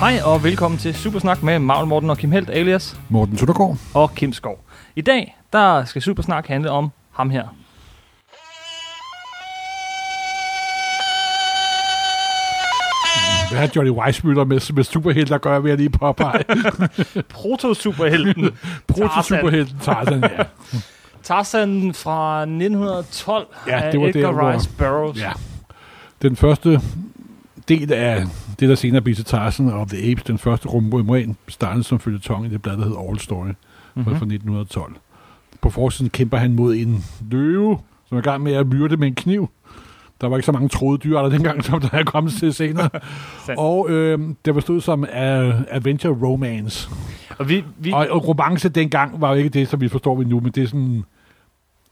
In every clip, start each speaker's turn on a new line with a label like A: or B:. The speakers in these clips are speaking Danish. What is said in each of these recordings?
A: Hej og velkommen til Supersnak med Magl Morten og Kim Helt alias
B: Morten Søndergaard.
A: og Kim Skov. I dag der skal Supersnak handle om ham her.
B: Hvad har Johnny Weissmüller med, med superhelte at gøre, vil jeg lige påpege.
A: Proto-superhelten
B: Proto-superhelten Tarzan, ja.
A: Tarzan fra 1912
B: Ja,
A: af
B: det var
A: Edgar
B: der, hvor-
A: Rice Burroughs.
B: ja. Den første del af det, der senere blev til Tarzan og The Apes, den første rumroman, startede som følgetong i det blad, der hed All Story mm-hmm.
A: Mhm.
B: fra 1912. På forsiden kæmper han mod en løve, som er i gang med at myrde med en kniv. Der var ikke så mange troede dyrearter dengang, som der er kommet til senere.
A: Sandt.
B: og øh, det var stået som uh, Adventure Romance.
A: Og vi, vi
B: Og, og romance dengang var jo ikke det, som vi forstår vi nu, men det er sådan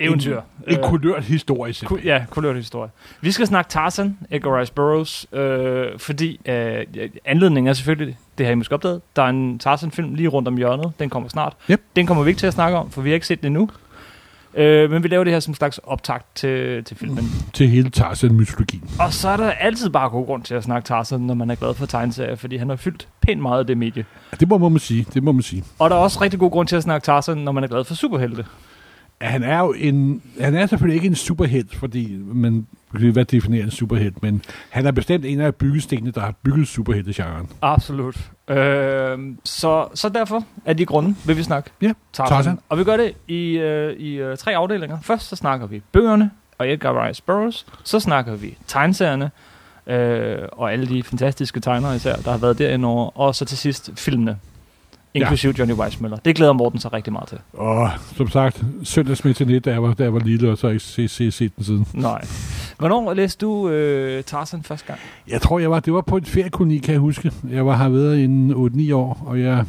A: eventyr.
B: en, en
A: Øh,
B: kulørt historie. simpelthen.
A: Ku- ja, kulørt historie. Vi skal snakke Tarzan, Edgar Rice Burroughs, øh, fordi øh, anledningen er selvfølgelig, det har I måske opdaget, der er en Tarzan-film lige rundt om hjørnet, den kommer snart.
B: Yep.
A: Den kommer vi ikke til at snakke om, for vi har ikke set den endnu. Øh, men vi laver det her som en slags optakt til, til filmen.
B: Til hele Tarzan-mytologien.
A: Og så er der altid bare god grund til at snakke Tarzan, når man er glad for tegneserier, fordi han har fyldt pænt meget af det medie.
B: Ja, Det må, må man sige, det må man sige.
A: Og der er også rigtig god grund til at snakke Tarzan, når man er glad for superhelte.
B: Ja, Han er jo en, han er selvfølgelig ikke en superhelt, fordi man hvad definerer en superhelt, men han er bestemt en af byggestenene, der har bygget superheltegenren.
A: Absolut. Øh, så, så derfor, af de grunde, vil vi snakke
B: Ja,
A: Tarzan.
B: Tarzan.
A: Og vi gør det i, øh, i øh, tre afdelinger. Først så snakker vi bøgerne og Edgar Rice Burroughs. Så snakker vi tegneserierne øh, og alle de fantastiske tegnere især, der har været derinde over. Og så til sidst filmene,
B: Ja.
A: inklusive Johnny Weissmuller. Det glæder Morten sig rigtig meget til.
B: Og som sagt, søndagsmed til net, da jeg var, da jeg var lille, og så har jeg ikke set, set, set den siden.
A: Nej. Hvornår læste du øh, Tarzan første gang?
B: Jeg tror, jeg var, det var på en feriekoloni, kan jeg huske. Jeg var her været en 8-9 år, og jeg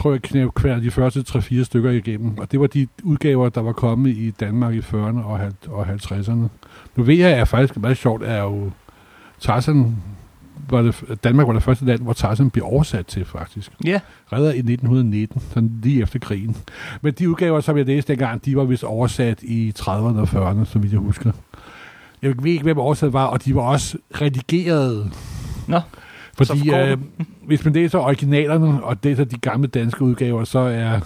B: tror, jeg knæv hver de første 3-4 stykker igennem. Og det var de udgaver, der var kommet i Danmark i 40'erne og hal- og 50'erne. Nu ved jeg, at jeg faktisk meget sjovt er jo Tarzan var det, Danmark var det første land, hvor Tarzan blev oversat til, faktisk.
A: Ja.
B: Redder i 1919, sådan lige efter krigen. Men de udgaver, som jeg læste dengang, de var vist oversat i 30'erne og 40'erne, så vidt jeg husker. Jeg ved ikke, hvem oversat var, og de var også redigeret.
A: Nå, så
B: Fordi
A: forkortet.
B: øh, hvis man læser originalerne, og læser de gamle danske udgaver, så er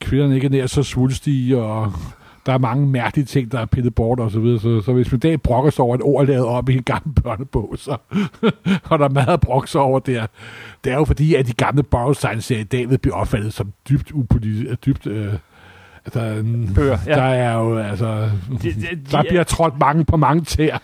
B: kvinderne ikke nær så svulstige, og der er mange mærkelige ting, der er pillet bort og så videre. Så, så hvis man i dag brokker sig over, at et ord er lavet op i en gammel børnebog, så og der er meget at brokke sig over der. Det er jo fordi, at de gamle Burroughs tegneserier i dag vil blive opfattet som dybt upolitisk, dybt... Øh, altså,
A: Bøger, ja.
B: ja. Der er jo, altså...
A: De, de, de,
B: Der bliver trådt mange på mange tæer.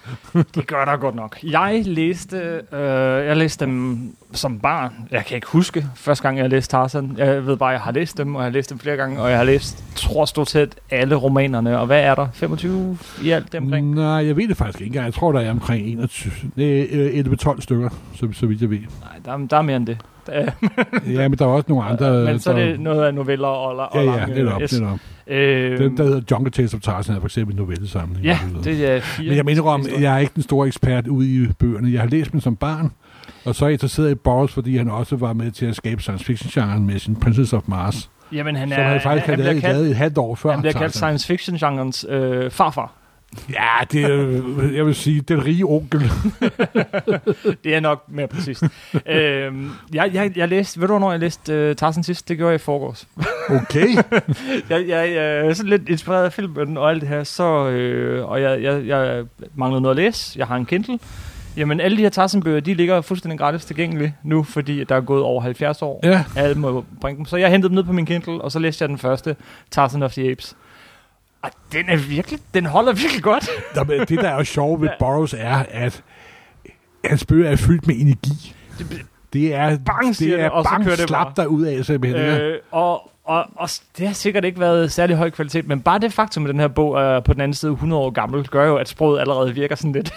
A: Det gør der godt nok. Jeg læste, øh, jeg læste dem som barn. Jeg kan ikke huske første gang, jeg læste Tarzan. Jeg ved bare, at jeg har læst dem, og jeg har læst dem flere gange, og jeg har læst, tror stort set, alle romanerne. Og hvad er der? 25 i alt dem omkring?
B: Nej, jeg ved det faktisk ikke engang. Jeg tror, der er omkring 21, øh, 11-12 stykker, så, så vidt jeg ved.
A: Nej, der, er- der er mere end det. Øh,
B: Ja, men der er også nogle andre...
A: Men så er
B: der-
A: det noget af noveller og, la- og
B: Ja, ja,
A: lange,
B: netop,
A: yes.
B: netop.
A: Øh,
B: Den, der hedder Jungle Tales of Tarzan, er for eksempel en novellesamling.
A: Ja,
B: og så videre.
A: det er fire.
B: Men jeg mener om, jeg er ikke den store ekspert ude i bøgerne. Jeg har læst dem som barn, og så er jeg interesseret i Burroughs, fordi han også var med til at skabe science fiction-genren med sin Princess of Mars,
A: Jamen, øh, han
B: som
A: er,
B: han faktisk
A: han,
B: havde
A: bliver
B: lavet,
A: kaldt,
B: lavet et halvt år før.
A: han bliver kaldt
B: Tarzan.
A: science fiction-genrens øh, farfar.
B: Ja, det er, jeg vil sige, den rige onkel.
A: Det er nok mere præcist. øhm, jeg, jeg, jeg læste, ved du, hvornår jeg læste uh, Tarzan sidst? Det gjorde jeg i forgårs.
B: Okay.
A: Jeg, jeg, jeg er sådan lidt inspireret af filmen og alt det her, så, øh, og jeg, jeg, jeg manglede noget at læse. Jeg har en Kindle. Jamen, alle de her Tarzan-bøger, de ligger fuldstændig gratis tilgængelige nu, fordi der er gået over 70 år.
B: Ja.
A: Alle må bringe dem. Så jeg hentede dem ned på min Kindle, og så læste jeg den første, Tarzan of the Apes. Og den er virkelig, den holder virkelig godt.
B: Nå, men det, der er jo sjovt ved Burroughs, er, at hans bøger er fyldt med energi. Det er
A: Bang, siger
B: det
A: det,
B: er
A: og så
B: bang
A: kører det
B: slap dig ud af, simpelthen. Øh,
A: Øh, og, og, og s- det har sikkert ikke været særlig høj kvalitet, men bare det faktum, at den her bog er på den anden side 100 år gammel, gør jo, at sproget allerede virker sådan lidt,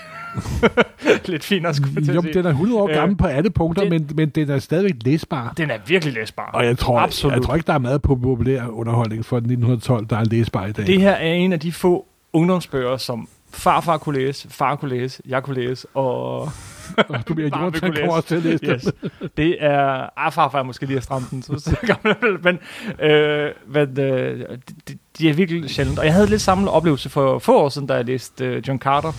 A: lidt finere, skulle jeg til
B: jo,
A: at
B: men
A: sige.
B: den er 100 år
A: Øh,
B: gammel på alle punkter,
A: det-
B: men, men den er stadigvæk læsbar.
A: Den er virkelig læsbar.
B: Og jeg tror,
A: Absolut.
B: jeg tror ikke, der er meget populær underholdning for 1912, der er læsbar i dag.
A: Det her er en af de få ungdomsbøger, som farfar kunne læse, far kunne læse, jeg kunne læse, og
B: du bliver
A: bare vil
B: Jonathan
A: kunne
B: kommer også til at læse yes.
A: yes, det er... Ah, farfar er måske lige at stramme den, så, så gammel er jeg vel, men, øh, men øh, de, de er virkelig sjældent. Og jeg havde lidt samme oplevelse for få år siden, da jeg læste øh, John Carter.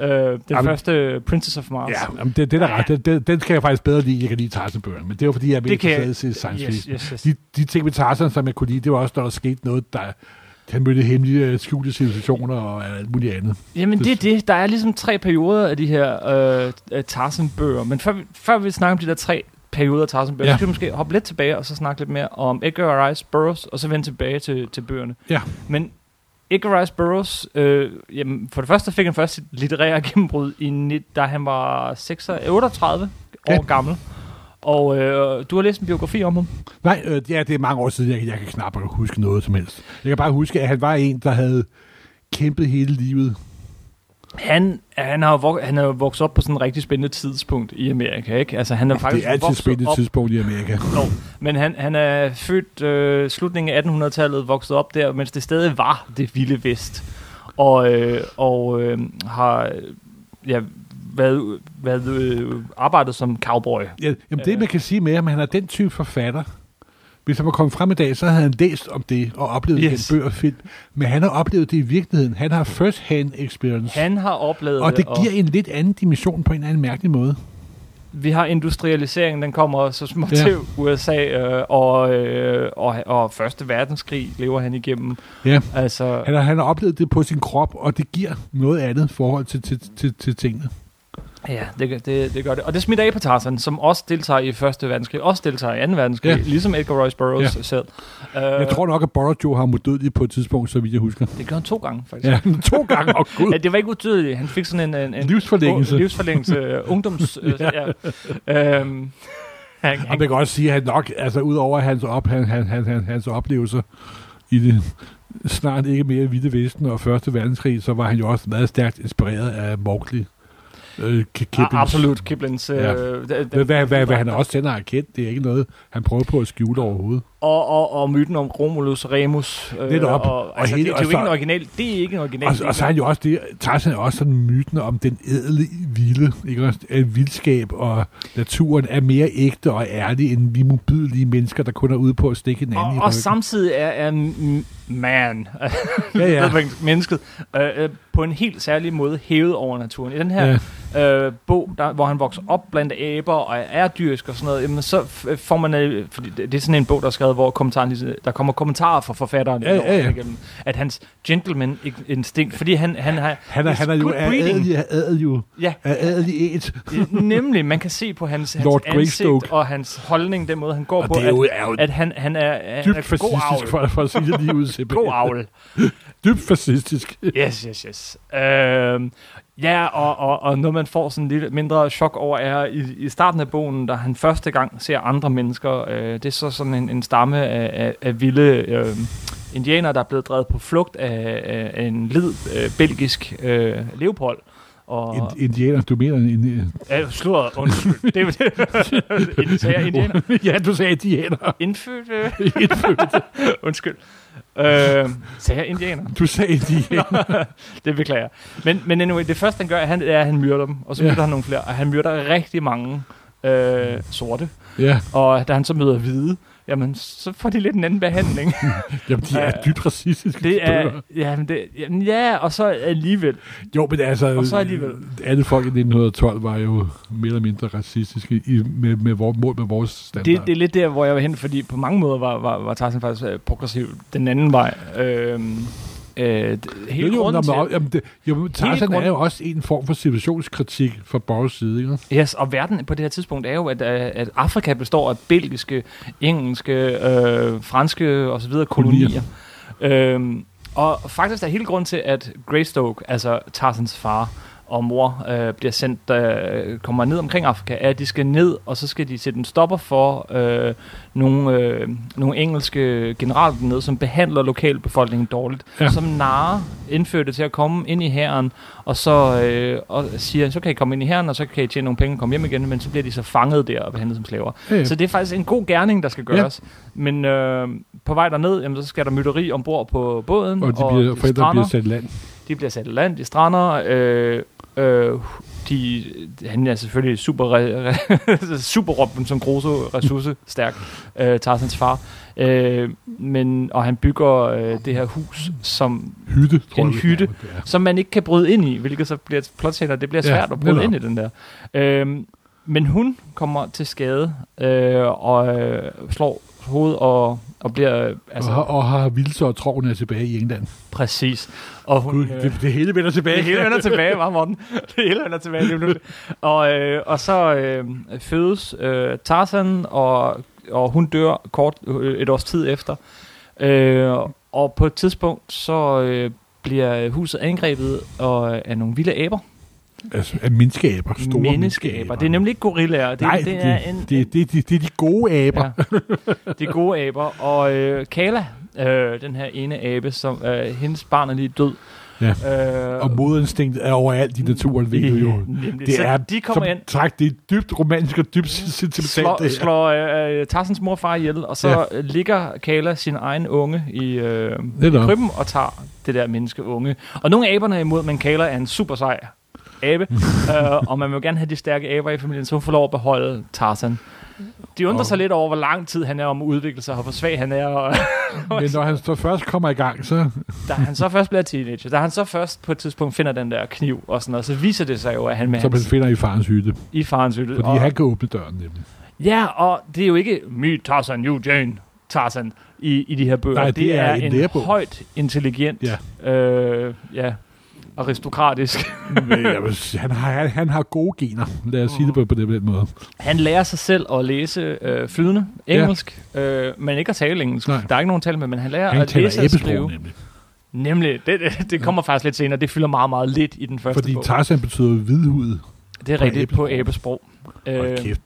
A: Øh, den
B: Jamen-
A: første øh, Princess of Mars.
B: Ja, jamen, det, det er da ret. Den, den, den skal jeg faktisk bedre lide. Jeg kan lide Tarzan-bøgerne, men det var fordi, jeg er mere
A: Det kan jeg-
B: interesseret i science
A: Yes,
B: fiction.
A: yes, yes.
B: De, de ting med Tarzan, som jeg kunne lide, det var også, når der skete noget, der han mødte hemmelige øh, skjulte situationer og alt muligt andet.
A: Jamen
B: Det-
A: det er det. Der er ligesom tre perioder af de her øh, øh, Tarzan-bøger. Men før vi, før vi snakker om de der tre perioder af Tarzan-bøger,
B: Ja.
A: ja. så skal vi måske hoppe lidt tilbage og så snakke lidt mere om Edgar Rice Burroughs, og så vende tilbage til, til bøgerne.
B: Ja.
A: Men Edgar Rice Burroughs, øh, jamen, for det første fik han først sit litterære gennembrud, i, nit- da han var 36, 38 år
B: Ja.
A: gammel. Og øh, du har læst en biografi om ham.
B: Nej, øh, ja, det er mange år siden, jeg, jeg kan knap huske noget som helst. Jeg kan bare huske, at han var en, der havde kæmpet hele livet.
A: Han, han, har jo vok- han er jo vokset op på sådan en rigtig spændende tidspunkt i Amerika, ikke? Altså, han er faktisk
B: det er altid et
A: vokset
B: spændende
A: op
B: tidspunkt i Amerika.
A: Nå, men han, han er født øh, slutningen af 1800-tallet, vokset op der, mens det stadig var det vilde vest. Og, øh, og øh, har ja, været, været øh, arbejdet som cowboy.
B: Ja, jamen det, man kan sige med ham, han er den type forfatter. Hvis han var kommet frem i dag, så havde han læst om det og oplevet
A: Yes.
B: yes. den bøger og film. Men han har oplevet det i virkeligheden. Han har first-hand experience. Han,
A: Han har oplevet
B: og det giver en lidt anden dimension på en anden mærkelig måde.
A: vi har industrialiseringen, den kommer så småt
B: Ja.
A: til USA, øh, og, øh, og, og Første Verdenskrig lever han igennem.
B: Ja.
A: Altså,
B: Han har, han har oplevet det på sin krop, og det giver noget andet forhold til, til, til, til tingene.
A: Ja, det, gør- det, det gør det. Og det smitter af på Tarzan, som også deltager i Første Verdenskrig, også deltager i 2. verdenskrig,
B: Ja.
A: ja. ligesom Edgar Rice Burroughs ja. selv. Uh,
B: Jeg tror nok, at Border Joe har modødelig på et tidspunkt, så vidt jeg husker.
A: Det gjorde han to gange, faktisk. Ja.
B: Ja, to gange. Åh,
A: Ja,
B: Gud.
A: det var ikke utydeligt. Han fik sådan en... en, en
B: Livsforlængelse.
A: Oh, livsforlængelse. øh, Ungdoms... Øh, ja. Øhm, han,
B: Og
A: han,
B: man kan også sige, at han nok, altså udover hans, op, han, han, han, han, hans oplevelser i det snart ikke mere vilde vesten og første verdenskrig, så var han jo også meget stærkt inspireret af Mowgli. Øh, Ki-
A: ah,
B: Kiplings.
A: absolut, Kiplings... Øh,
B: Ja.
A: ja.
B: Hvad, hvad, hvad, hvad han også selv har erkendt, det er ikke noget, han prøver på at skjule overhovedet.
A: og, og, og myten om Romulus og Remus. Øh,
B: Netop.
A: Og,
B: Og
A: altså,
B: hele-
A: det, det, er jo
B: og
A: ikke
B: så-
A: en original... Det er ikke en original.
B: Og, og så er han jo også det, Tarzan er også sådan myten om den edle vilde, ikke også? At vildskab og naturen er mere ægte og ærlig end vi modbydelige mennesker, der kun er ude på at stikke hinanden i
A: og,
B: ryggen.
A: og samtidig er, er m- man,
B: ja, ja.
A: ja. mennesket, øh, øh, på en helt særlig måde hævet over naturen. I den her
B: ja.
A: øh, bog, der, hvor han vokser op blandt æber og er dyrisk og sådan noget, jamen så f- får man, øh, fordi det det er sådan en bog, der er skrevet, hvor kommentaren, ligesom- der kommer kommentarer fra forfatteren,
B: Ja, ja, ja.
A: Igennem, at hans gentleman-instinkt, fordi han, han har...
B: Han er,
A: it's
B: han er jo
A: good
B: er
A: breeding.
B: adelig, er adelig, jo-
A: Ja,
B: er adelig et.
A: nemlig, man kan se på hans, hans
B: Lord
A: ansigt
B: Greystoke.
A: og hans holdning, den måde, han går
B: Og
A: på,
B: det er
A: at,
B: jo, er jo
A: at han, han er, han
B: dybt
A: er god
B: fascistisk,
A: avl.
B: for, for at sige det lige ud til
A: God avl.
B: Dybt fascistisk.
A: Yes, yes, yes. Øhm, ja, og, og, og noget man får sådan lidt mindre chok over er i, i starten af bogen, da han første gang ser andre mennesker. Øh, det er så sådan en, en stamme af, af, af vilde øh, indianere, der er blevet drevet på flugt af, af, af en lid øh, belgisk øh, leopold. Og,
B: Ind, indianer, du mener... En, en,
A: ja, sludder, undskyld. det er det. Ind- sagde jeg indianer.
B: ja, du sagde indianer.
A: Indfødt, øh,
B: Indfødt.
A: undskyld. Øh, sagde jeg indianer?
B: Du sagde indianer.
A: Det beklager jeg. Men, men anyway, det første han gør, han, er, at han myrder dem, og så
B: Ja.
A: myrder han nogle flere, og han myrder rigtig mange øh, sorte.
B: ja,
A: Og da han så møder hvide, jamen, så får de lidt en anden behandling.
B: jamen de er
A: Øh,
B: dybt racistiske.
A: det
B: bøger.
A: er, jamen, det, jamen, ja, og så alligevel.
B: Jo, men altså...
A: Og så alligevel.
B: Alle folk i 1912 var jo mere eller mindre racistiske i, med, med, vores, mål med vores standard.
A: Det, det er lidt der, hvor jeg var hen, fordi på mange måder var, var, var Tarzan faktisk øh, progressiv den anden vej. Øhm, øh, d- hele
B: jo,
A: grunden
B: jo,
A: til,
B: til... jamen, det, jo, Tarzan
A: grunden-
B: er jo også en form for situationskritik fra Borges side, ikke?
A: Yes, og verden på det her tidspunkt er jo, at, øh, at Afrika består af belgiske, engelske, øh, franske osv. kolonier. Øhm, og faktisk er hele grund til, at Greystoke, altså Tarzans far og mor, øh, bliver sendt, øh, kommer ned omkring Afrika, er, at de skal ned, og så skal de sætte en stopper for øh, nogle, øh, nogle engelske generaler dernede, som behandler lokalbefolkningen dårligt, ja.
B: Ja.
A: som narer indførte til at komme ind i hæren, og så øh, og siger, så kan I komme ind i hæren, og så kan I tjene nogle penge og komme hjem igen, men så bliver de så fanget der og behandlet som slaver.
B: Ja, ja.
A: Så det er faktisk en god gerning, der skal
B: Ja.
A: gøres. Men øh, på vej derned, jamen, så skal der mytteri ombord på båden,
B: Og de bliver, forældre
A: strander.
B: bliver sat i land.
A: de bliver sat i land, de strander, øh, Øh, de, han er selvfølgelig super, re, re, super Robinson Crusoe, ressource stærk, øh, Tarzans far. Øh, men, og han bygger øh, det her hus, som,
B: Hytte, tror
A: En
B: jeg. vi
A: hytte.
B: kalder det, ja.
A: som man ikke kan bryde ind i, hvilket så bliver et plotsener. Det bliver
B: Ja,
A: svært ja, at bryde
B: netop.
A: ind i den der. Øh, men hun kommer til skade øh, og øh, slår hovedet og, og bliver... Øh, altså,
B: og, har- og har Vilse og Troven er tilbage i England.
A: Præcis. Og hun, øh,
B: Gud, det, det hele vender tilbage.
A: Det hele vender tilbage, var Morten. Det hele vender tilbage. lige om lidt. og, øh, og så øh, fødes øh, Tarzan, og, og hun dør kort øh, et års tid efter. Øh, og på et tidspunkt, så øh, bliver huset angrebet og, øh, af nogle vilde aber.
B: Altså, af menneskeaber. Store menneskeaber.
A: Det er nemlig ikke gorillaer. Det,
B: Nej,
A: det er en,
B: det, det, det, det er de gode aber. Ja.
A: Ja. De gode aber. Og øh, Kala, øh, den her ene abe, som øh, hendes barn er lige død.
B: Ja.
A: Øh,
B: Og modinstinktet er overalt i naturen, ved du jo.
A: Nemlig.
B: Det
A: Mm. så
B: er,
A: de kommer
B: som
A: ind,
B: Træk, det er dybt romantisk og dybt sentimentalt.
A: slår,
B: det her.
A: slår øh, øh, Tarzans mor og far ihjel, og så
B: Ja.
A: ja. ligger Kala sin egen unge i, øh, i
B: Netop.
A: krybben og tager det der menneske unge. Og nogle af aberne er imod, men Kala er en super sej abe, øh, og man vil jo gerne have de stærke aber i familien, så hun får lov at beholde Tarzan. De undrer
B: Og-
A: sig lidt over, hvor lang tid han er om at udvikle sig, og hvor svag han er. Og
B: Men når han så først kommer i gang, så...
A: da han så først bliver teenager, da han så først på et tidspunkt finder den der kniv og sådan noget, så viser det sig jo, at han med
B: Som han
A: hans,
B: finder i farens hytte.
A: i farens hytte.
B: Fordi
A: og-
B: han kan åbne døren nemlig.
A: Ja, og det er jo ikke My Tarzan, You Jane Tarzan i, i de her bøger.
B: Nej, det er en
A: en
B: lærebog.
A: højt intelligent, ja. Øh, ja, aristokratisk.
B: Men jeg vil sige, han, har, han, han har gode gener. Lad os sige det på, på den den måde.
A: Han lærer sig selv at læse øh, flydende engelsk, øh, men ikke at tale engelsk.
B: Nej.
A: Der er ikke nogen tale med, men han lærer
B: Han
A: at
B: taler
A: læse og
B: æbesprog
A: skrive.
B: nemlig.
A: Nemlig, det, det, det kommer faktisk lidt senere. Det fylder meget, meget lidt i den første
B: Fordi
A: bog.
B: Tarzan betyder hvidhud.
A: det er
B: på
A: rigtigt på
B: æbesprog.
A: æbesprog.
B: Hold
A: Øh,
B: kæft.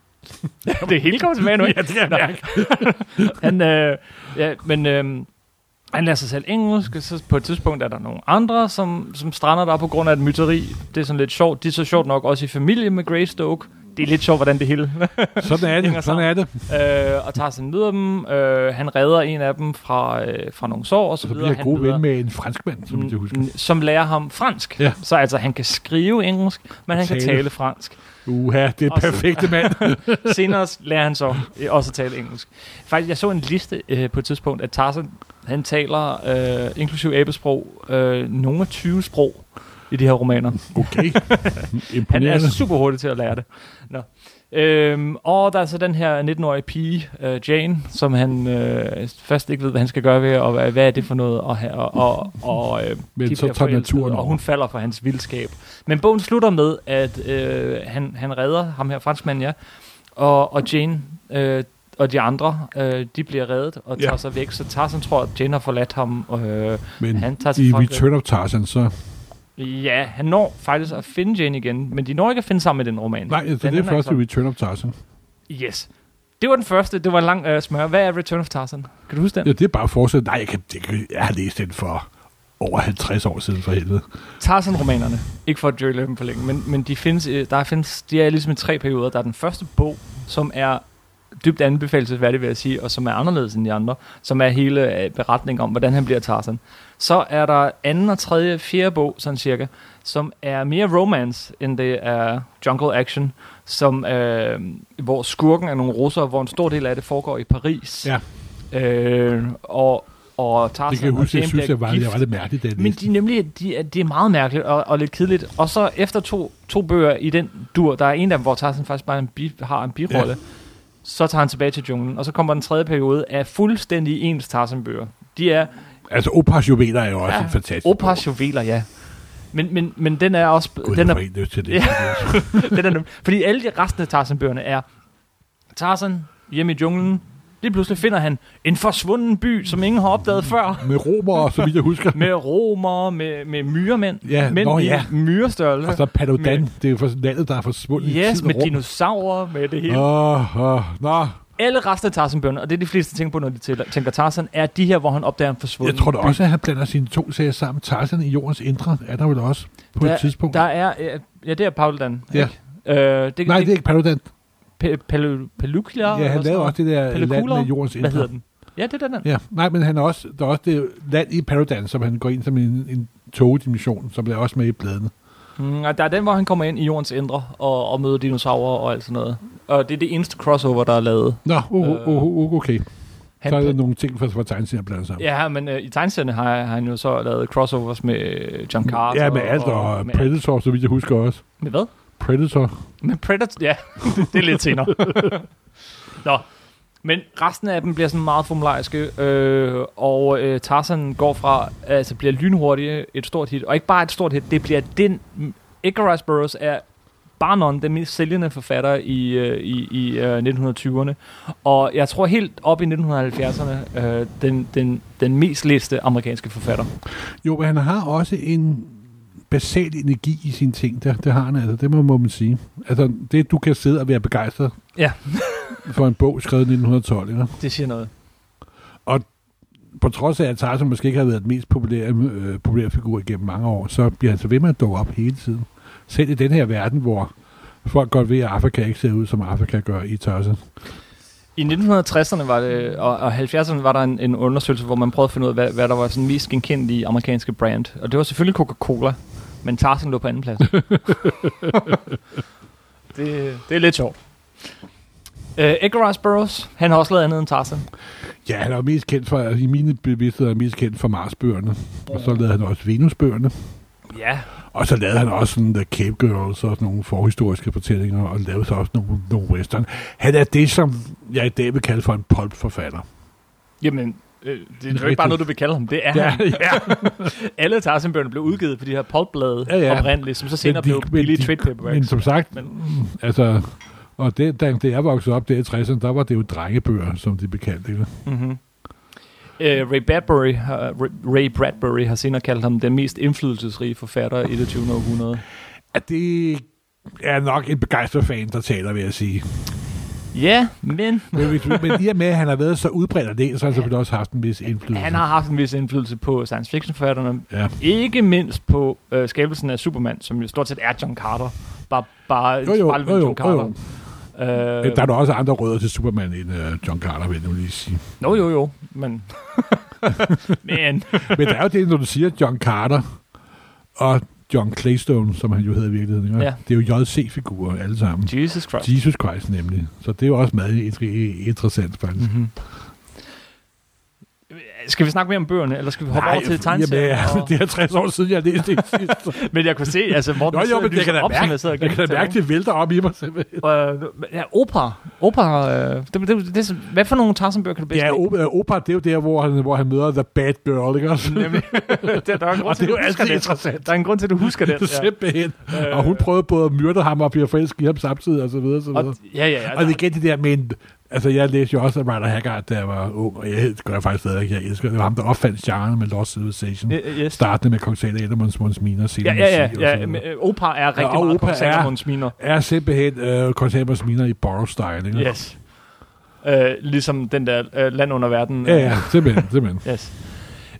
A: det hele kommer tilbage nu, ikke?
B: ja, det er
A: Nå.
B: mærke.
A: han, øh, ja, men øh, han lærer sig selv engelsk, og så på et tidspunkt er der nogle andre, som, som strander der på grund af et myteri. Det er sådan lidt sjovt. De er så sjovt nok også i familie med Greystoke. Det er lidt sjovt, hvordan det hele
B: Sådan er
A: Hænger
B: det. Sådan
A: sammen.
B: er det.
A: øh, og tager sig møder dem. Øh, han redder en af dem fra, øh, fra nogle sår, og så,
B: Så
A: videre.
B: bliver jeg
A: Han
B: god
A: videre-
B: ven med en franskmand, som jeg husker.
A: Mm, som lærer ham fransk.
B: Ja.
A: Så altså, han kan skrive engelsk, men han kan
B: tale.
A: tale fransk.
B: Uha, det er
A: Og så-
B: perfekte mand.
A: Senere lærer han så øh, også at tale engelsk. Faktisk, jeg så en liste øh, på et tidspunkt, at Tarzan, han taler, øh, inklusiv abesprog, øh, nogle af 20 sprog i de her romaner.
B: Okay.
A: Han er
B: Imponerende.
A: super hurtig til at lære det. Nå. Øhm, og der er så den her 19-årige pige, øh, Jane, som han øh, først ikke ved, hvad han skal gøre ved, og hvad, hvad er det for noget, og, ha- og, og, og øh,
B: Men
A: de
B: så
A: bliver
B: tager
A: forelskede,
B: naturen
A: Og
B: over.
A: hun falder for hans vildskab. Men bogen slutter med, at øh, han, han redder ham her, franskmanden, ja. Og, og Jane øh, og de andre, øh, de bliver reddet og
B: Ja.
A: tager sig væk. Så Tarzan tror, at Jane har forladt ham. Og, øh,
B: Men
A: han tager
B: i
A: til Frankrig. Mm.
B: Return of Tarzan, så...
A: ja, han når faktisk at finde Jane igen, men de når ikke at finde sammen i den roman.
B: Nej,
A: Den
B: så det er
A: ender
B: først i
A: ikke
B: Return of Tarzan.
A: sammen. Yes. Det var den første. Det var en lang øh, smør. Hvad er Return of Tarzan? Kan du huske den?
B: Ja, det er bare fortsat. Nej, jeg, kan, det kan, jeg har læst den for over 50 år siden for helvede.
A: Tarzan-romanerne. Ikke for at drille dem for længe, men, men de, findes, øh, der findes, de er ligesom i tre perioder. Der er den første bog, som er dybt anbefalesværdig, vil jeg sige, og som er anderledes end de andre, som er hele øh, beretningen om, hvordan han bliver Tarzan. Så er der anden og tredje, fjerde bog, sådan cirka, som er mere romance, end det er jungle action, som, øh, hvor skurken er nogle russere, hvor en stor del af det foregår i Paris.
B: Ja.
A: Øh, og, og Tarzan
B: Det kan
A: altså, og
B: jeg huske, jeg
A: Jane
B: synes,
A: bliver
B: jeg var,
A: gift.
B: jeg var lidt mærkeligt, da jeg
A: Men
B: læste.
A: de, nemlig, de, er- det er meget mærkeligt og, og lidt kedeligt. Og så efter to, to bøger i den dur, der er en af dem, hvor Tarzan faktisk bare en bi, har en birolle, ja. så tager han tilbage til junglen. Og så kommer den tredje periode af fuldstændig ens Tarzan-bøger. De er
B: Altså, Opas juveler er jo også en fantastisk bog.
A: Opas juveler, ja. Men, men, men den er også... den
B: Gud, jeg
A: er
B: får helt lyst til det.
A: Ja. den er nem. Fordi alle de resten af Tarzan-bøgerne er Tarzan hjemme i junglen. Lige pludselig finder han en forsvunden by, som ingen har opdaget før.
B: Med romer, så vidt jeg husker.
A: Med romer, med, med myremænd.
B: Ja,
A: mænd
B: nå
A: i
B: ja.
A: myrestørrelse.
B: Og så Padodan,
A: Med-
B: det er jo for- landet, der er forsvundet i
A: Yes,
B: tid
A: med
B: og rum.
A: dinosaurer, med det hele.
B: Åh, åh, nå.
A: Alle resten af Tarzan-bøgerne, og det er de fleste ting på, når de tæller- tænker Tarzan, er de her, hvor han opdager en
B: Jeg
A: forsvunden
B: tror da
A: by.
B: også, at han blander sine to serier sammen. Tarzan i jordens indre er der vel også på
A: Der-
B: et tidspunkt.
A: Der er, øh, ja, det er Paludan.
B: Ja.
A: ikke? Øh, det,
B: Nej, det er ikke Paludan.
A: Pe- Pelu- Peluklia.
B: Ja, han
A: eller sådan
B: lavede
A: noget.
B: også det der
A: Pelliculer?
B: land med jordens indre.
A: Hvad hedder den? Ja, det er den.
B: Ja, nej, men han er også, der er også det land i Paradise, som han går ind som en, en togdimension, som bliver også med i bladene.
A: Mm, og der er den, hvor han kommer ind i jordens indre og, og møder dinosaurer og alt sådan noget. Og det er det eneste crossover, der er lavet.
B: Nå, oh, oh, oh, oh, okay.
A: Øh, Han,
B: Så er der nogle ting fra, fra tegneserier blandet sammen.
A: Ja, men øh, i tegnserne har har han jo så lavet crossovers med øh, John Carter.
B: ja, med alt, og,
A: med, alt.
B: Predator, så vidt jeg husker også.
A: med hvad?
B: Predator.
A: Med Predator? Ja, det, det er lidt senere. Nå, men resten af dem bliver sådan meget formulariske, øh, og øh, Tarzan går fra, altså bliver lynhurtigt et stort hit, og ikke bare et stort hit, det bliver den, Icarus Burroughs er bare non, den mest sælgende forfatter i, øh, i, i øh, 1920'erne, og jeg tror helt op i 1970'erne, øh, den, den, den mest læste amerikanske forfatter.
B: Jo, men han har også en basal energi i sine ting. Det, det har han altså, det må, må man sige. Altså, det du kan sidde og være begejstret
A: Ja.
B: for en bog skrevet i 1912, ikke?
A: Det siger noget.
B: På trods af, at Tarzan måske ikke har været den mest populære, øh, populære figur igennem mange år, så bliver han så ved med at dukke op hele tiden. Selv i den her verden, hvor folk godt ved, at Afrika ikke ser ud, som Afrika gør i Tarzan.
A: I 1960'erne var det, og, og 70'erne var der en, en undersøgelse, hvor man prøvede at finde ud af, hvad, hvad der var sådan mest genkendelige amerikanske brand. Og det var selvfølgelig Coca-Cola, men Tarzan lå på anden plads. det, det er lidt sjovt. Uh, Edgar Rice Burroughs, han har også lavet andet end Tarzan.
B: Ja, han er jo mest kendt for, i mine bevidstheder er han mest kendt for Marsbøgerne. Og så lavede han også Venusbøgerne.
A: Ja,
B: Og så lavede han også sådan The Cape Girls og sådan nogle forhistoriske fortællinger, og lavede så også nogle, nogle western. Han er det, som jeg i dag vil kalde for en pulp-forfatter.
A: jamen, øh, det er jo ikke
B: Rigtig.
A: bare noget, du vil kalde ham. Det er ja. han. Alle Tarzan-bøgerne blev udgivet på de her pulpblade
B: Ja,
A: ja,
B: ja.
A: ja. oprindeligt, som så senere
B: de-
A: blev
B: men
A: billige
B: de-
A: trade
B: Men
A: paperbacks.
B: som sagt,
A: Men-
B: mm, altså, og det, da, da jeg voksede op der i 60'erne, der var det jo drengebøger, som de blev kaldt. Ikke?
A: Mm-hmm. Uh, Ray, Bradbury, har- Ray Bradbury har senere kaldt ham den mest indflydelsesrige forfatter i det 20. århundrede.
B: At det er nok en begejstret fan, der taler, vil jeg sige.
A: Ja, men
B: Men, hvis, men i og med, at han har været så udbredt af det, så har han selvfølgelig også haft en vis indflydelse.
A: han har haft en vis indflydelse på science fiction forfatterne.
B: Ja.
A: Ikke mindst på øh, skabelsen af Superman, som jo stort set er John Carter. Bare, bare,
B: Jo, jo,
A: bare
B: jo, jo,
A: John
B: jo, jo.
A: Carter. Øh,
B: Der er da også andre rødder til Superman end uh, John Carter, vil jeg nu lige sige.
A: Nå, jo, jo, men... men...
B: Men der er jo det, når du siger John Carter og John Claystone, som han jo hedder i virkeligheden. Ikke?
A: Ja.
B: Det er jo JC-figurer alle sammen.
A: Jesus Christ.
B: Jesus Christ nemlig. Så det er jo også meget intri- interessant faktisk.
A: Mm-hmm. Skal vi snakke mere om bøgerne, eller skal vi hoppe over til
B: jamen,
A: tegneserier?
B: ja,
A: og-
B: det er 60 år siden, jeg læste det sidst.
A: Men jeg kunne se, altså, Morten
B: Nå, jo, men jeg kan da
A: op, som
B: mærke,
A: jeg sidder og
B: jeg kan da
A: gennemtager.
B: mærke, det vælter op i mig simpelthen.
A: Øh, ja, opera. Opera. Øh, det, det, det, det, hvad for nogle Tarzan-bøger kan du bedst
B: Ja,
A: lide?
B: opera, opera, det er jo der, hvor han, hvor han møder The Bad Girl, ikke også?
A: Nemlig. der, der er en grund
B: Og
A: til,
B: det
A: at du
B: er jo
A: husker
B: altid
A: det.
B: interessant.
A: Der er en grund til, at du husker det. Ja. Øh.
B: Simpelthen. Og hun prøvede både at myrde ham og blive forelsket i ham samtidig, og så videre, så
A: Og,
B: videre.
A: ja, ja, ja.
B: Og det er
A: Der,
B: igen det der med, en- altså jeg læste jo også af Ryder Haggard, da jeg var ung, og jeg det gør jeg faktisk stadig, jeg elsker. Det var ham, der opfandt genren med Lost Civilization.
A: Øh, øh, yes.
B: Startende med Kong Sale Eddermunds Mons Miner,
A: ja,
B: senere
A: ja, ja.
B: Musik og så
A: ja,
B: videre.
A: men, øh, opera er rigtig
B: og
A: meget
B: opera
A: Kong
B: er-
A: Salomons miner.
B: Er simpelthen øh, Kong Sale Eddermunds Miner i Borrow-style, ikke?
A: Yes. Øh, ligesom den der øh, land under verden. øh,
B: Ja, ja, simpelthen, simpelthen.
A: Yes.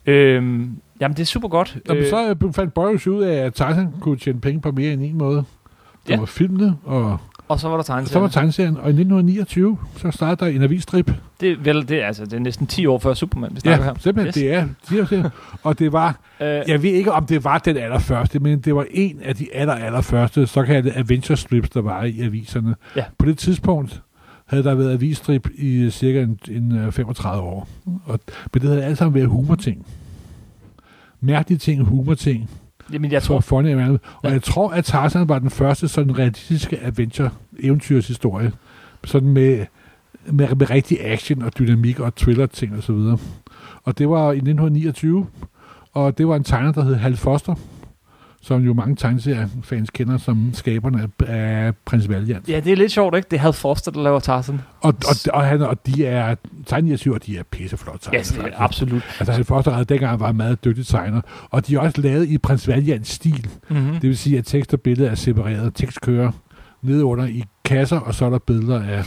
A: Øhm, jamen, det er super godt.
B: Nå, men så øh, fandt Borrows ud af, at Tarzan kunne tjene penge på mere end en måde. Der
A: Ja.
B: var filmene, og
A: Øh, og så var der
B: så var
A: tegneserien.
B: tegneserien, og i 1929, så startede der en avisstrip.
A: Det, er vel, det, er, altså, det er næsten 10 år før Superman, vi snakker
B: Ja,
A: her.
B: simpelthen,
A: Yes.
B: det er. de er- de er- Og det var
A: Øh,
B: Jeg ved ikke, om det var den allerførste, men det var en af de aller, allerførste såkaldte adventure strips, der var i aviserne.
A: Ja.
B: På det tidspunkt havde der været avisstrip i øh, cirka en, en øh, 35 år. Og, men det havde alt sammen været humorting. Mærkelige ting, humorting.
A: Jamen, jeg
B: for
A: tror...
B: funny og andet. Og
A: Ja.
B: jeg tror, at Tarzan var den første sådan realistiske adventure eventyrshistorie. Sådan med, med, med rigtig action og dynamik og thriller ting og så videre. Og det var i 1929, og det var en tegner, der hed Hal Foster, som jo mange tegneseriefans kender som skaberne af, af Prins Valiant.
A: Ja, det er lidt sjovt, ikke? Det havde Forster, der laver Tarzan.
B: Og, og, og, han, og de er tegneinitiativer, de er pisseflot
A: Ja,
B: tegner.
A: yes,
B: faktisk.
A: absolut.
B: Altså han Foster havde dengang var en meget dygtig tegner. Og de er også lavet i Prins Valiants stil.
A: Mm-hmm.
B: Det vil sige, at tekst og billede er separeret. Tekst kører nedunder i kasser, og så er der billeder af...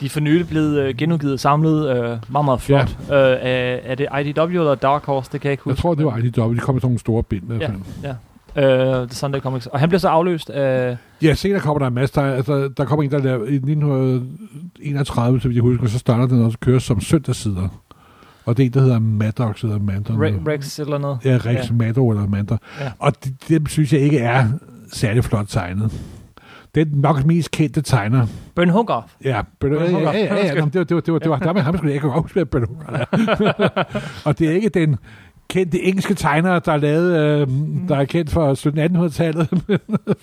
A: De er for nylig blevet øh, genudgivet og samlet øh, meget, meget flot. Ja. Øh, er, er det IDW eller Dark Horse? Det kan jeg ikke
B: Jeg
A: huske.
B: tror, det var aldrig dobbelt. De kom i sådan nogle store bind. Ja.
A: tror... Øh, The Sunday Comics. Og han bliver så afløst af...
B: ja, senere kommer der en masse. Der, altså, der kommer en, der laver, i 1931, så vidt jeg husker, så starter den også at køre som søndagssider. Og det er en, der hedder Maddox, eller Mandon.
A: Re- Rex eller noget.
B: Ja, Rex
A: Ja.
B: ja. Maddow eller Mandor.
A: Ja.
B: Og de, dem synes jeg ikke er særlig flot tegnet. Det er nok mest kendte tegner.
A: Bøn Hugger.
B: Ja, Bølle, ja,
A: Bølle
B: ja,
A: Hugger.
B: ja, ja, ja. Nå, men det var, det var, det var, det var der med ham, skulle jeg ikke huske, hvad Bølle Hugger er. Og det er ikke den kendte engelske tegner, der er, lavet, øh, der er kendt fra 1700-1800-tallet.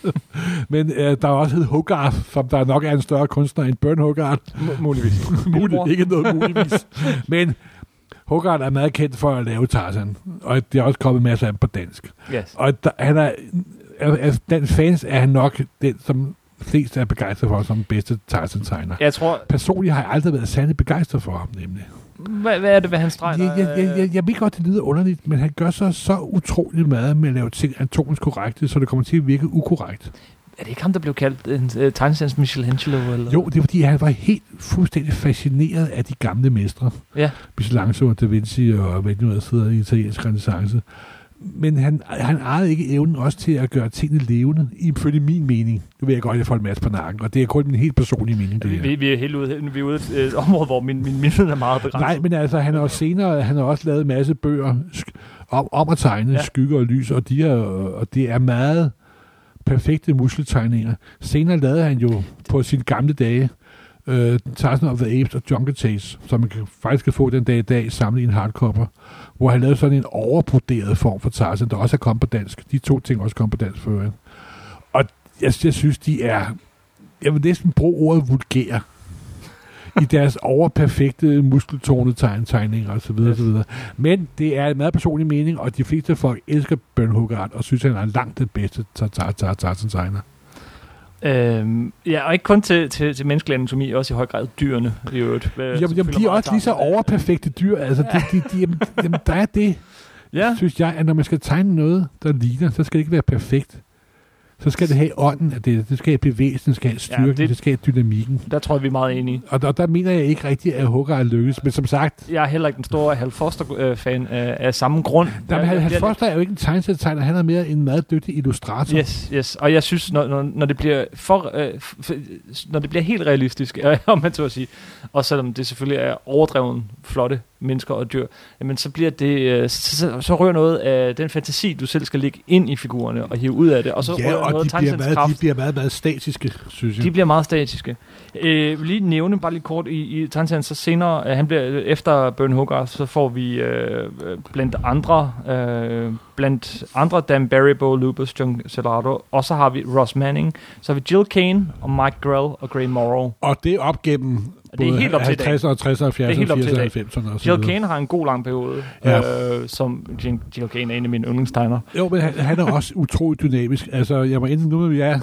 B: Men øh, der er også hed Hogarth, som der nok er en større kunstner end Bøn Hogarth.
A: M- muligvis.
B: Muligt, ikke noget muligvis. Men Hogarth er meget kendt for at lave Tarzan, og det er også kommet masser af dem på dansk.
A: Yes.
B: Og der, han er, altså, den fans er han nok den, som flest er begejstret for som den bedste Tarzan-tegner.
A: Jeg tror...
B: Personligt har jeg aldrig været særlig begejstret for ham, nemlig.
A: Hvad, hvad er det, hvad han streger?
B: Jeg, jeg,
A: øh.
B: jeg, jeg, jeg ved godt, det lyder underligt, men han gør så så utrolig meget med at lave ting anatomisk korrekte, så det kommer til at virke ukorrekt.
A: Er det ikke ham, der blev kaldt en uh, tegnesands Michelangelo? Eller?
B: Jo, det er fordi, han var helt fuldstændig fascineret af de gamle mestre.
A: Ja.
B: Michelangelo og Da Vinci og hvad de nu ellers hedder i italiensk renaissance. Men han, han ejede ikke evnen også til at gøre tingene levende, ifølge min mening. Nu ved jeg godt, at jeg får en masse på nakken, og det er kun min helt personlige mening. Det her.
A: Vi, vi, vi er helt ude, vi er ude i et øh, område, hvor min, min minden er meget begrænset.
B: Nej, men altså, han har også senere, han har også lavet en masse bøger sk- om, om at tegne ja.
A: Ja.
B: skygger og lys, og, de er, og det er meget perfekte muskeltegninger. Senere lavede han jo på sine gamle dage øh, Tarzan of the Apes og Jungle Chase, som man kan, faktisk kan få den dag i dag samlet i en hardcover, hvor han lavede sådan en overbroderet form for Tarzan, der også er kommet på dansk. De to ting er også kom på dansk for øvrigt. Og jeg, jeg synes, de er... Jeg vil næsten bruge ordet vulgære i deres overperfekte muskeltonede tegn, tegninger osv. Yes. videre. Men det er en meget personlig mening, og de fleste folk elsker Bjørn Hugart og synes, han er langt det bedste Tarzan-tegner.
A: Øhm, ja, og ikke kun til, til, til menneskelig anatomi, også i høj grad dyrene i øvrigt. Hvad,
B: Jamen, jamen, de er også lige Øh, så overperfekte dyr. Altså, de, de, de, jamen, jamen, der er det,
A: Ja,
B: synes jeg, at når man skal tegne noget, der ligner, så skal det ikke være perfekt. Så skal det have ånden af det, det skal have bevægelsen, det skal have styrken, ja, det...
A: det-
B: det skal have dynamikken.
A: der tror jeg, vi er meget enige.
B: Og der, der mener jeg ikke rigtigt, at Hugart lykkes. Men som sagt,
A: Jeg er heller ikke den store Hal Foster-fan øh, af, af samme grund.
B: der,
A: Jeg-
B: han,
A: jeg
B: han
A: bliver-
B: Foster altså. er jo ikke en tegneserietegner, han er mere en meget dygtig illustrator.
A: Yes, yes. Og jeg synes, når, når, når det bliver for, øh, f- når det bliver helt realistisk, øh, om man så at sige, og selvom det selvfølgelig er overdreven flotte mennesker og dyr, jamen så bliver det, øh, så, så, så rører noget af den fantasi, du selv skal lægge ind i figurerne og hive ud af det, og så
B: ja,
A: rører
B: og
A: noget
B: de
A: af
B: bliver,
A: tegnsætningskraft.
B: meget, de bliver meget, meget statiske, synes jeg.
A: De bliver meget statiske. Øh, vil lige nævne bare lidt kort i, i Tantan, så senere, øh, han bliver øh, efter Burn Hogarth, så får vi øh, øh, blandt andre, øh, blandt andre Dan Barry, Bo Lupus, John Celardo, og så har vi Ross Manning, så har vi Jill Kane og Mike Grell og Gray Morrow.
B: Og det er op gennem
A: Det er
B: både
A: helt op til i dag.
B: 50'erne, og 60'erne, og 70'erne,
A: helt
B: og
A: op til i
B: 80'erne,
A: dag.
B: og 90'erne. og så
A: Jill
B: videre.
A: Kane har en god lang periode,
B: Ja.
A: øh, som Jill, Jill Kane er en af mine yndlingstegnere.
B: Jo, men han, han er også utrolig dynamisk. Altså, jeg må indse nu, at vi er...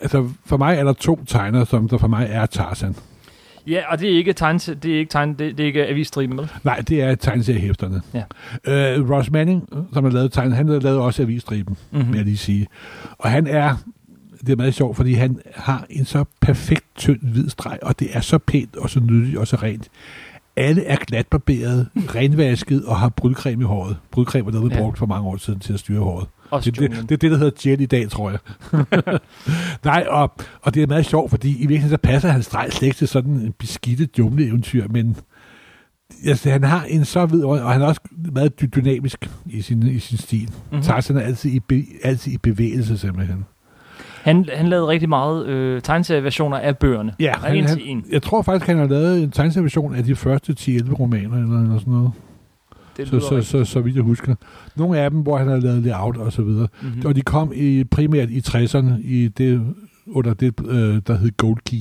B: Altså, for mig er der to tegnere, som der for mig er Tarzan.
A: Ja, og det er ikke tegn, det er ikke tegn, det, det er ikke avisstriben, vel?
B: Nej, det er tegneseriehæfterne.
A: Ja.
B: Øh, Ross Manning, som har lavet tegn, han har lavet også avisstriben,
A: Mhm.
B: mm-hmm. vil jeg lige sige. Og han er, det er meget sjovt, fordi han har en så perfekt tynd hvid streg, og det er så pænt, og så nydeligt, og så rent. Alle er glatbarberet, renvasket og har brudcreme i håret. Brudcreme er noget, man
A: Ja.
B: brugt for mange år siden til at styre håret.
A: Også
B: Det, det,
A: Julian.
B: det er det, der hedder gel i dag, tror jeg. Nej, og, og det er meget sjovt, fordi i virkeligheden så passer hans streg slet ikke til sådan en beskidte jumle-eventyr, men altså, han har en så vid og han er også meget dy- dynamisk i sin, i sin stil. Mm-hmm.
A: Mhm.
B: Tarzan er altid i, be, altid i bevægelse, simpelthen.
A: Han, han lavede rigtig meget øh, tegneserieversioner af bøgerne.
B: Ja,
A: han,
B: han,
A: en
B: han,
A: til en.
B: jeg tror faktisk, han har lavet en tegneserieversion af de første 10-11 romaner, eller, eller sådan noget,
A: Det
B: så,
A: lyder
B: så,
A: rigtigt.
B: så, så vidt jeg husker. Nogle af dem, hvor han har lavet layout og så videre.
A: Mhm.
B: Mm. Og de kom i, primært i 60'erne, i det, under det, øh, der hed Gold Key.